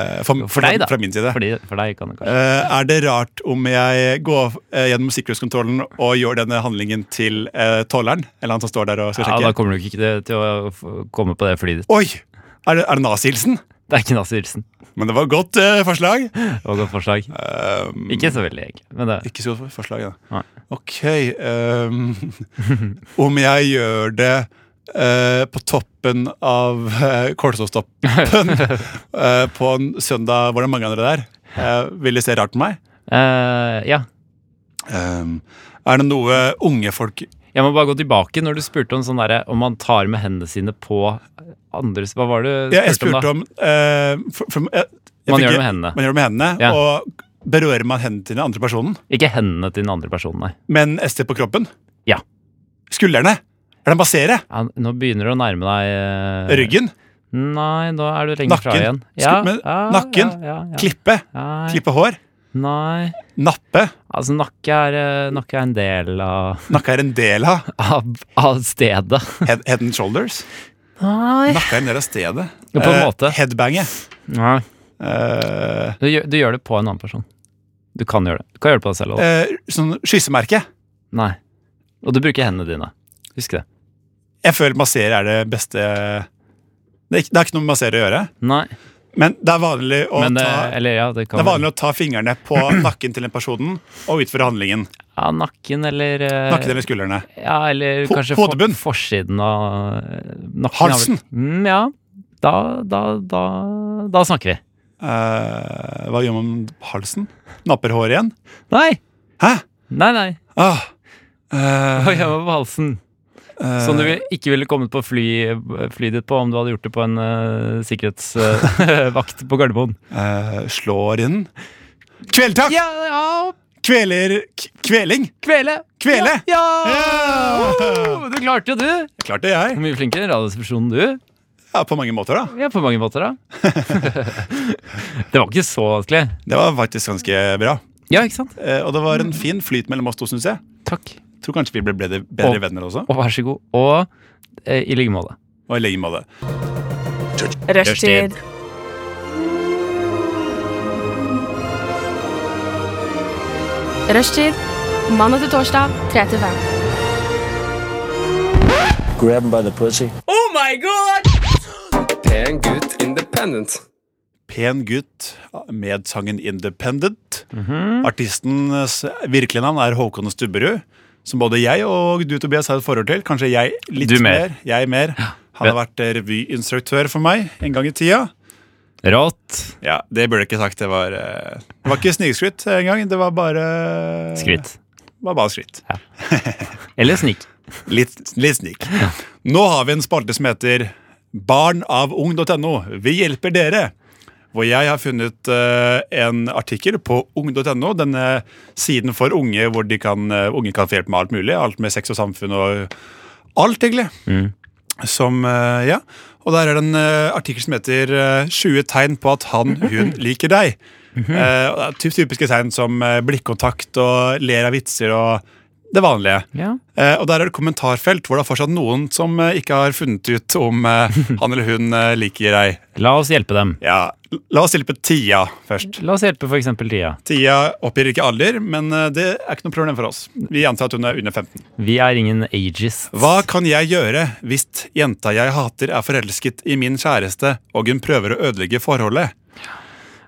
S2: Eh, For,
S3: For deg, da.
S2: Fra min side.
S3: Fordi, for deg kan det kanskje.
S2: Eh, er det rart om jeg går eh, gjennom sikkerhetskontrollen og gjør denne handlingen til eh, tolleren? Eller han som står der og skal
S3: Ja,
S2: sjekke?
S3: Da kommer du ikke til- til å f- komme på det flyet ditt.
S2: Oi! Er det, er det nazihilsen?
S3: Det er ikke nazihilsen.
S2: Men det var et godt eh, forslag.
S3: Det var et godt forslag.
S2: Um,
S3: Ikke så veldig, egentlig. Men det,
S2: ikke så godt forslag, da.
S3: Nei.
S2: Ok um, Om jeg gjør det eh, på toppen av uh, kålsåstoppen eh, på en søndag hvor det er mange andre der, eh, vil de se rart på meg?
S3: Eh, ja.
S2: Um, er det noe unge folk
S3: Jeg må bare gå tilbake når du spurte om sånn derre om man tar med hendene sine på andres Hva var det du
S2: Ja, jeg
S3: spurte om, da?
S2: spurte om, eh, for, for, jeg, jeg
S3: Man
S2: fikk-
S3: gjør det med hendene.
S2: Man gjør det med hendene,
S3: Ja.
S2: og berører man hendene til den andre personen,
S3: Ikke hendene til den andre personen, nei.
S2: men ST på kroppen?
S3: Ja.
S2: Skuldrene? Er det en basere?
S3: Ja, nå begynner du å nærme deg eh,
S2: Ryggen?
S3: Nei, da er du lenger fra
S2: Nakken.
S3: igjen.
S2: Sku- men nakken.
S3: Ja, ja, ja.
S2: Klippe?
S3: Nei.
S2: Klippe hår?
S3: Nei.
S2: Nappe?
S3: Altså, nakke er, eh, nakke er en del av,
S2: Nakke er en del av
S3: av, av stedet.
S2: head, head and shoulders?
S3: Nei.
S2: Nakke er en del av stedet.
S3: Ja, på en
S2: Eh,
S3: måte.
S2: Headbanget. Eh,
S3: Du, gjør- du gjør det på en annen person. Du kan gjøre det. Du kan gjøre det på deg selv også.
S2: eh, sånn skyssemerke.
S3: Nei. Og du bruker hendene dine. Husk det.
S2: Jeg føler massere er det beste det er, ikke, det er ikke noe med massere å gjøre,
S3: Nei.
S2: men det er vanlig å
S3: Men det,
S2: ta
S3: eller ja, det kan
S2: Det er vanlig å ta fingrene på nakken til den personen og utføre handlingen.
S3: Ja, nakken eller eh,
S2: Nakken eller skuldrene.
S3: Ja, eller
S2: Ho-
S3: kanskje for-
S2: hodebunn.
S3: forsiden av eh, nakken.
S2: Halsen.
S3: er vel- Mm, ja. Da, da, da, da snakker vi.
S2: Eh, hva gjør man med halsen? Napper håret igjen?
S3: Nei!
S2: Hæ?
S3: Nei, nei.
S2: Ah. Eh,
S3: Hva gjør man på halsen?
S2: eh,
S3: Som du vil- ikke ville kommet på fly, flyet ditt på om du hadde gjort det på en eh, sikkerhetsvakt på Gardermoen.
S2: eh, slår inn. Kveldtak!
S3: Ja, ja,
S2: Kveler... k- Kveling?
S3: Kvele!
S2: Kvele!
S3: Ja!
S2: Ja!
S3: Woho! Du klarte det, du!
S2: Klart det, jeg.
S3: Hvor mye flinkere enn Radioresepsjonen du.
S2: Ja, på mange måter, da.
S3: Ja, på mange måter, da. det var ikke så vanskelig.
S2: Det var faktisk ganske bra.
S3: Ja, ikke sant?
S2: Eh, og det var en fin flyt mellom oss to, syns jeg.
S3: Takk.
S2: Tror kanskje vi ble bedre, bedre
S3: Og-
S2: venner også.
S3: Og vær så god. Og eh, i like måte.
S2: Og i like måte.
S5: Rushtid. Rushtid. Mandag til torsdag, 3 til 5.
S6: Grab him by the pussy.
S7: Pen gutt independent.
S2: Pen gutt med sangen Independent. Mhm. Artistens virkelige navn er Håkon Stubberud. Som både jeg og du, Tobias, har et forhold til. Kanskje jeg litt
S3: Du
S2: mer.
S3: mer.
S2: Jeg mer. Han har vært eh, revyinstruktør for meg en gang i tida.
S3: Rått.
S2: Ja, Det burde jeg ikke sagt. Det var, eh, det var ikke snikskryt engang. Det var bare
S3: Skritt.
S2: Det var bare skritt.
S3: Eller snik.
S2: Litt, litt snik. Nå har vi en spalte som heter barnavung.no. Vi hjelper dere. Hvor jeg har funnet eh, en artikkel på ung.no, denne siden for unge hvor de kan, eh, unge kan få hjelp med alt mulig. Alt med sex og samfunn og alt, egentlig. Som, eh, ja. Og der er det en eh, artikkel som heter eh, 20 tegn på at han, hun liker deg. Eh, og det er typ- typiske tegn som eh, blikkontakt og ler av vitser og det vanlige.
S3: Ja.
S2: Eh, og der er det kommentarfelt hvor det er fortsatt noen som eh, ikke har funnet ut om eh, han eller hun eh, liker deg.
S3: La oss hjelpe dem.
S2: Ja, l- La oss hjelpe Tia først.
S3: La oss hjelpe f.eks. Tia.
S2: Tia oppgir ikke alder, men eh, det er ikke noe problem for oss. Vi antar at hun er under 15.
S3: Vi er ingen ageist.
S2: Hva kan jeg gjøre hvis jenta jeg hater er forelsket i min kjæreste, og hun prøver å ødelegge forholdet?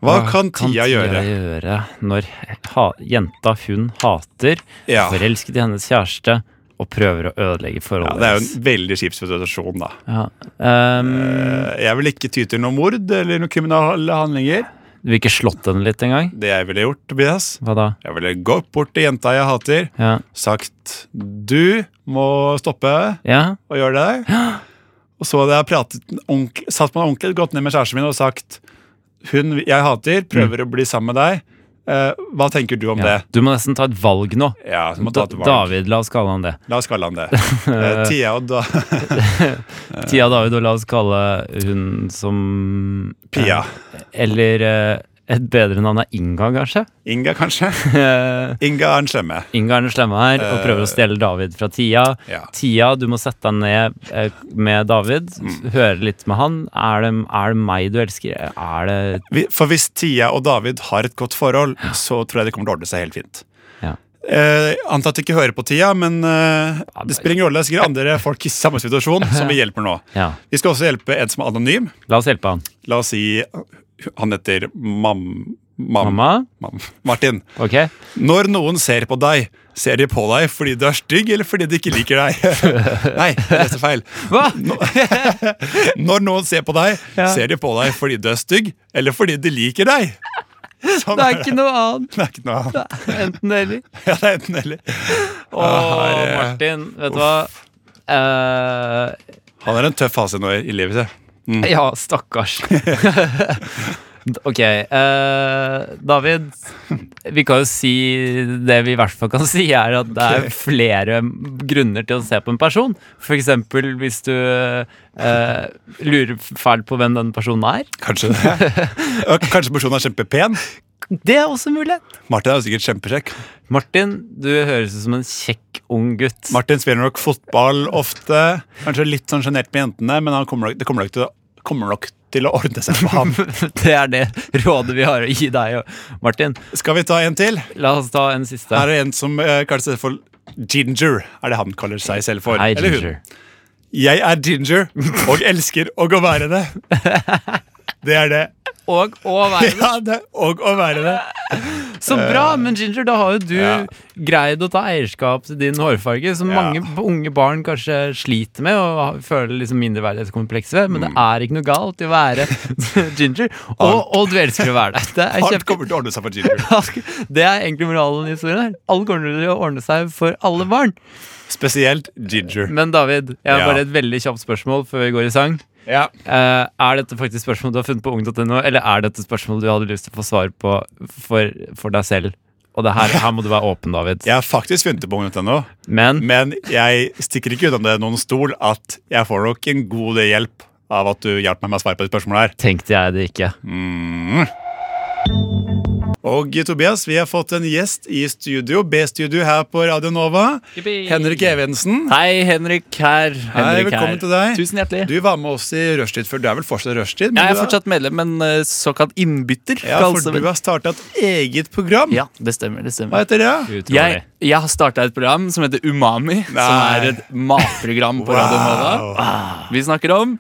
S2: Hva, kan Tia gjøre?
S3: gjøre når ha, jenta hun hater,
S2: Ja.
S3: forelsket i hennes kjæreste og prøver å ødelegge
S2: Ja,
S3: forholdet
S2: det er jo en veldig kjip situasjon, da.
S3: Ja. Ehm,
S2: Eh, Jeg vil ikke ty til noe mord eller noen kriminelle handlinger.
S3: du vil ikke slått henne litt engang?
S2: Det jeg ville gjort, Tobias,
S3: Hva da?
S2: Jeg ville gått bort til jenta jeg hater,
S3: Ja.
S2: sagt du må stoppe
S3: ja.
S2: og gjøre det der. Og så hadde jeg pratet ordentlig, satt meg ordentlig godt ned med kjæresten min og sagt hun jeg hater, prøver å bli sammen med deg. Eh, hva tenker du om
S3: ja.
S2: det?
S3: Du må nesten ta et valg nå.
S2: Ja, så må ta et
S3: Da-
S2: valg.
S3: David, la oss kalle han det.
S2: La oss kalle han det. Eh, Tia og da,
S3: Tia David, og la oss kalle hun som
S2: Pia.
S3: Eller eh, et bedre navn er Inga, kanskje?
S2: Inga, kanskje?
S3: Eh,
S2: Inga er den slemme.
S3: Inga er den slemme her og prøver å stjele David fra Tia.
S2: Ja.
S3: Tia, du må sette deg ned eh, med David, høre litt med han. Er det, er det meg du elsker? Er det
S2: Vi- For hvis Tia og David har et godt forhold, så tror jeg det kommer til å ordne seg helt fint.
S3: Ja.
S2: Eh, antar at de ikke hører på Tia, men eh,
S3: men-
S2: det spiller ingen rolle. Det er sikkert andre folk i samme situasjon som vi hjelper nå.
S3: Ja.
S2: Vi skal også hjelpe en som er anonym.
S3: La oss hjelpe han.
S2: La oss si han heter Mam... Mam-
S3: Mamma?
S2: Mam- Martin.
S3: Ok?
S2: Når noen ser på deg, ser de på deg fordi du er stygg, eller fordi de ikke liker deg? Nei, jeg leste feil.
S3: Hva?
S2: Når noen ser på deg,
S3: Ja.
S2: ser de på deg fordi du er stygg, eller fordi de liker deg. Sånn
S3: Det er ikke noe annet.
S2: Det er ikke noe annet.
S3: Enten eller.
S2: Ja, det er enten eller.
S3: Å, Martin, vet du hva? Eh,
S2: Han er en tøff fase nå i i livet sitt.
S3: ja, stakkars. ok. eh, David, vi kan jo si det vi i hvert fall kan si, er at det er flere grunner til å se på en person. For eksempel hvis du eh, lurer fælt på hvem den personen er.
S2: Kanskje det. Og Kanskje personen er kjempepen.
S3: Det er også en mulighet.
S2: Martin er jo sikkert kjempekjekk.
S3: Martin, du høres ut som en kjekk ung gutt.
S2: Martin spiller nok fotball ofte. Kanskje litt sånn sjenert med jentene, men han kommer nok, det kommer nok, til, å- kommer nok til å ordne seg med ham.
S3: det er det rådet vi har å gi deg, Martin.
S2: Skal vi ta en til?
S3: La oss ta en siste.
S2: Her er en som eh, kaller seg for Ginger. Er det han kaller seg selv for?
S3: Hei,
S2: Eller hun.
S3: Ginger.
S2: Jeg er Ginger og elsker og å være det. Det er det.
S3: Og, og verden.
S2: Ja, det er og å være det.
S3: Så bra! Men Ginger, da har jo du
S2: Eh, Ja.
S3: greid å ta eierskap til din hårfarge, som
S2: Ja.
S3: mange unge barn kanskje sliter med og har- føler liksom mindreverdighetskompleks ved. Men det
S2: Mm.
S3: er ikke noe galt i å være Ginger. Og, og du elsker å være der. Det er
S2: Alt
S3: kjempe...
S2: kommer til å ordne seg for Ginger.
S3: Det er egentlig moralen i historien her. Alle kommer til å ordne seg for alle barn.
S2: Spesielt Ginger.
S3: Men David, jeg har
S2: Ja.
S3: bare et veldig kjapt spørsmål før vi går i sang.
S2: Ja.
S3: Eh, er dette faktisk spørsmål du har funnet på ung.no, eller er dette spørsmål du hadde lyst til å få svar på for, for deg selv Og det her, her må du være åpen, David.
S2: Jeg har faktisk funnet det på ung.no,
S3: Men
S2: men jeg stikker ikke unna det noen stol at jeg får nok en god del hjelp av at du hjalp meg med å svare på de spørsmålene her.
S3: tenkte jeg det ikke.
S2: Og Tobias, vi har fått en gjest i studio, B-studio her på Radio Nova. Henrik Evensen.
S6: Hei, Henrik her. Henrik
S2: velkommen
S6: her.
S2: til deg.
S6: Tusen hjertelig.
S2: Du var med oss i Rushtid før. Du er vel fortsatt Rushtid? men
S6: jeg er
S2: du
S6: fortsatt medlem, men eh, såkalt innbytter.
S2: Ja,
S6: kalles
S2: for
S6: det
S2: du
S6: vel.
S2: har starta et eget program.
S6: ja, det stemmer. det
S2: Hva
S6: stemmer
S2: heter det?
S3: Utrolig.
S6: Jeg, jeg har starta et program som heter Umami, som
S2: Nei.
S6: er et matprogram på Radio Nova. Vi snakker om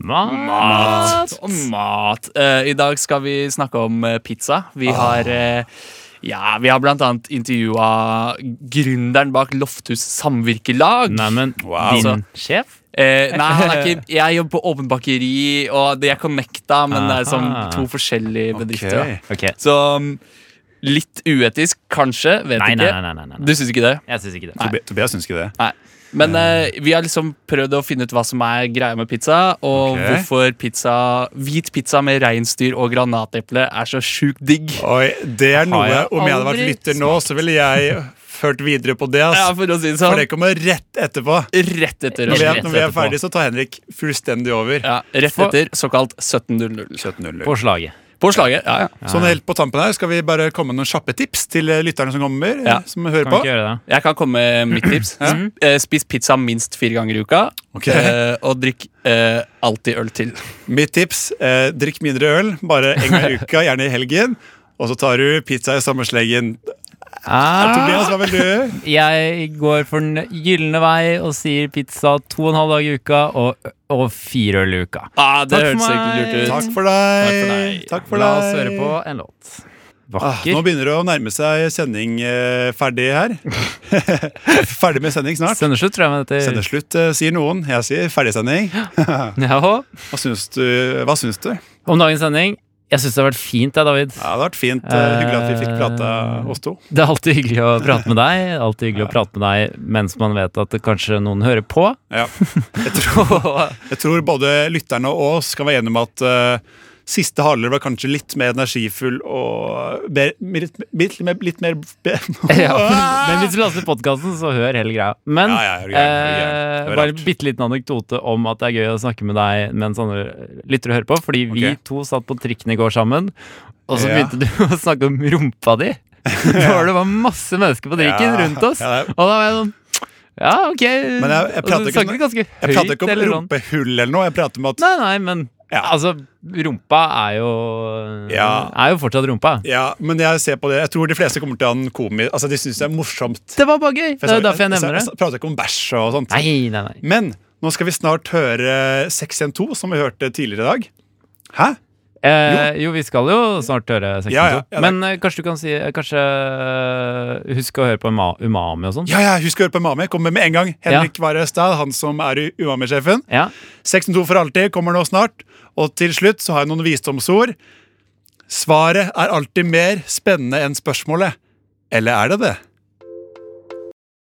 S3: Ma-
S6: mat. Om mat. Eh, I dag skal vi snakke om eh, pizza.
S3: Ah.
S6: Vi har eh, ja, Vi har blant annet intervjua gründeren bak Lofthus Samvirkelag.
S3: Neimen,
S2: Wow.
S3: din sjef?
S6: Eh, nei, han er ikke, jeg jobber på åpent bakeri, og de er connecta, men det er som
S3: Aha.
S6: to forskjellige bedrifter. da.
S2: Ok.
S3: Ok.
S6: Så um, litt uetisk, kanskje. Vet
S3: Nei, nei,
S6: ikke.
S3: nei. nei, nei, nei.
S6: Du syns ikke det?
S3: Jeg syns ikke det.
S2: Tobi- Tobias syns ikke det.
S6: Nei. Men eh, vi har liksom prøvd å finne ut hva som er greia med pizza, og
S2: Ok.
S6: hvorfor pizza, hvit pizza med reinsdyr og granateple er så sjukt digg.
S2: Oi, det er noe
S3: jeg
S2: Om jeg hadde vært
S3: aldri
S2: lytter nå, så ville jeg ført videre på det.
S6: Ja,
S2: Ass.
S6: for å si det
S2: For
S6: sånn.
S2: det kommer rett etterpå.
S6: Rett etter.
S2: Når vi er,
S6: Rett
S2: når vi er
S6: etterpå.
S2: ferdig, så tar Henrik fullstendig over.
S6: Ja, rett etter såkalt 17.00.
S2: 17-0.
S3: På slaget.
S6: På slaget. Ja, ja.
S2: Sånn helt på tampen her skal vi bare komme med noen kjappe tips til eh, lytterne som kommer.
S6: Ja.
S2: eh, Som hører
S3: Kan vi
S2: på
S3: ikke gjøre det?
S6: Jeg kan komme med mitt tips. Sp- eh, Spis pizza minst fire ganger i uka.
S2: Ok.
S6: eh, Og drikk eh, alltid øl til.
S2: Mitt tips eh, drikk mindre øl, bare en gang i uka, gjerne i helgen. Og så tar du pizza i samme slengen.
S3: Ah.
S2: Tobias, hva vil du?
S3: Jeg går for den gylne vei og sier pizza to og en halv dag i uka og, og fire øl i uka.
S6: Ah, det
S3: Takk for
S6: hørtes egentlig lurt ut.
S2: Takk for deg.
S6: deg.
S2: Takk for deg.
S3: La oss høre på en låt.
S2: Ah, nå
S3: Vakker.
S2: begynner det å nærme seg sending eh, ferdig her. ferdig med sending snart.
S3: Sendeslutt, tror jeg. med dette
S2: Sendeslutt eh, sier noen. Jeg sier ferdig sending.
S3: Ja.
S2: Hva syns du? Hva syns du? Ja,
S3: Om dagens sending. Jeg syns det har vært fint, jeg, David.
S2: det har vært fint. eh, hyggelig at vi fikk prata
S3: Eh,
S2: oss to.
S3: Det er alltid hyggelig å prate med deg. Alltid hyggelig å prate med deg mens man vet at det kanskje noen hører på.
S2: Ja. Jeg, tror, jeg tror både lytterne og oss kan være enige om at eh, siste halvdel var kanskje litt mer energifull og be, litt, litt, litt, mer- litt mer be,
S3: Ja, men hvis du laster podkasten, så hør hele greia. Men
S2: Ja, ja, hør greia, hør greia.
S3: eh,
S2: Hør
S3: bare
S2: alt.
S3: en bitte liten anekdote om at det er gøy å snakke med deg mens andre lytter og hører på. Fordi vi
S2: Ok.
S3: to satt på trikken i går sammen, og så
S2: Ja.
S3: begynte du å snakke om rumpa di. Da var det bare masse mennesker på trikken
S2: Ja,
S3: rundt oss.
S2: ja, det er-
S3: Og da var jeg sånn Ja, ok.
S2: Men jeg- jeg
S3: Og
S2: prater
S3: du
S2: ikke
S3: snakker
S2: om-
S3: ganske høyt.
S2: Jeg prater ikke om
S3: eller sånn.
S2: rumpehull eller noe. Jeg prater om at
S3: Nei, nei, men
S2: Ja.
S3: altså Rumpa er jo
S2: Ja.
S3: Er jo fortsatt rumpa.
S2: Ja, men jeg ser på det. Jeg tror de fleste kommer til å ha en komi... Altså, de syns det er morsomt.
S3: Det var bare gøy. Det
S2: For
S3: er jo
S2: sa-
S3: derfor jeg nevner
S2: Jeg,
S3: det.
S2: sa- prater ikke om bæsj og sånt.
S3: Nei, nei, nei.
S2: Men nå skal vi snart høre 612, som vi hørte tidligere i dag. Hæ?
S3: Eh, jo. vi skal jo snart høre 62.
S2: Ja, ja, ja, det-
S3: Men eh, kanskje du kan si eh, Kanskje eh, husk å høre på Uma- Umami og sånn.
S2: Ja, ja, husk å høre på Mami. Kommer med en gang. Henrik Varestad, han som er i Umami-sjefen.
S3: Ja.
S2: 612 for alltid kommer nå snart. Og til slutt så har jeg noen visdomsord. Svaret er alltid mer spennende enn spørsmålet. Eller er det det?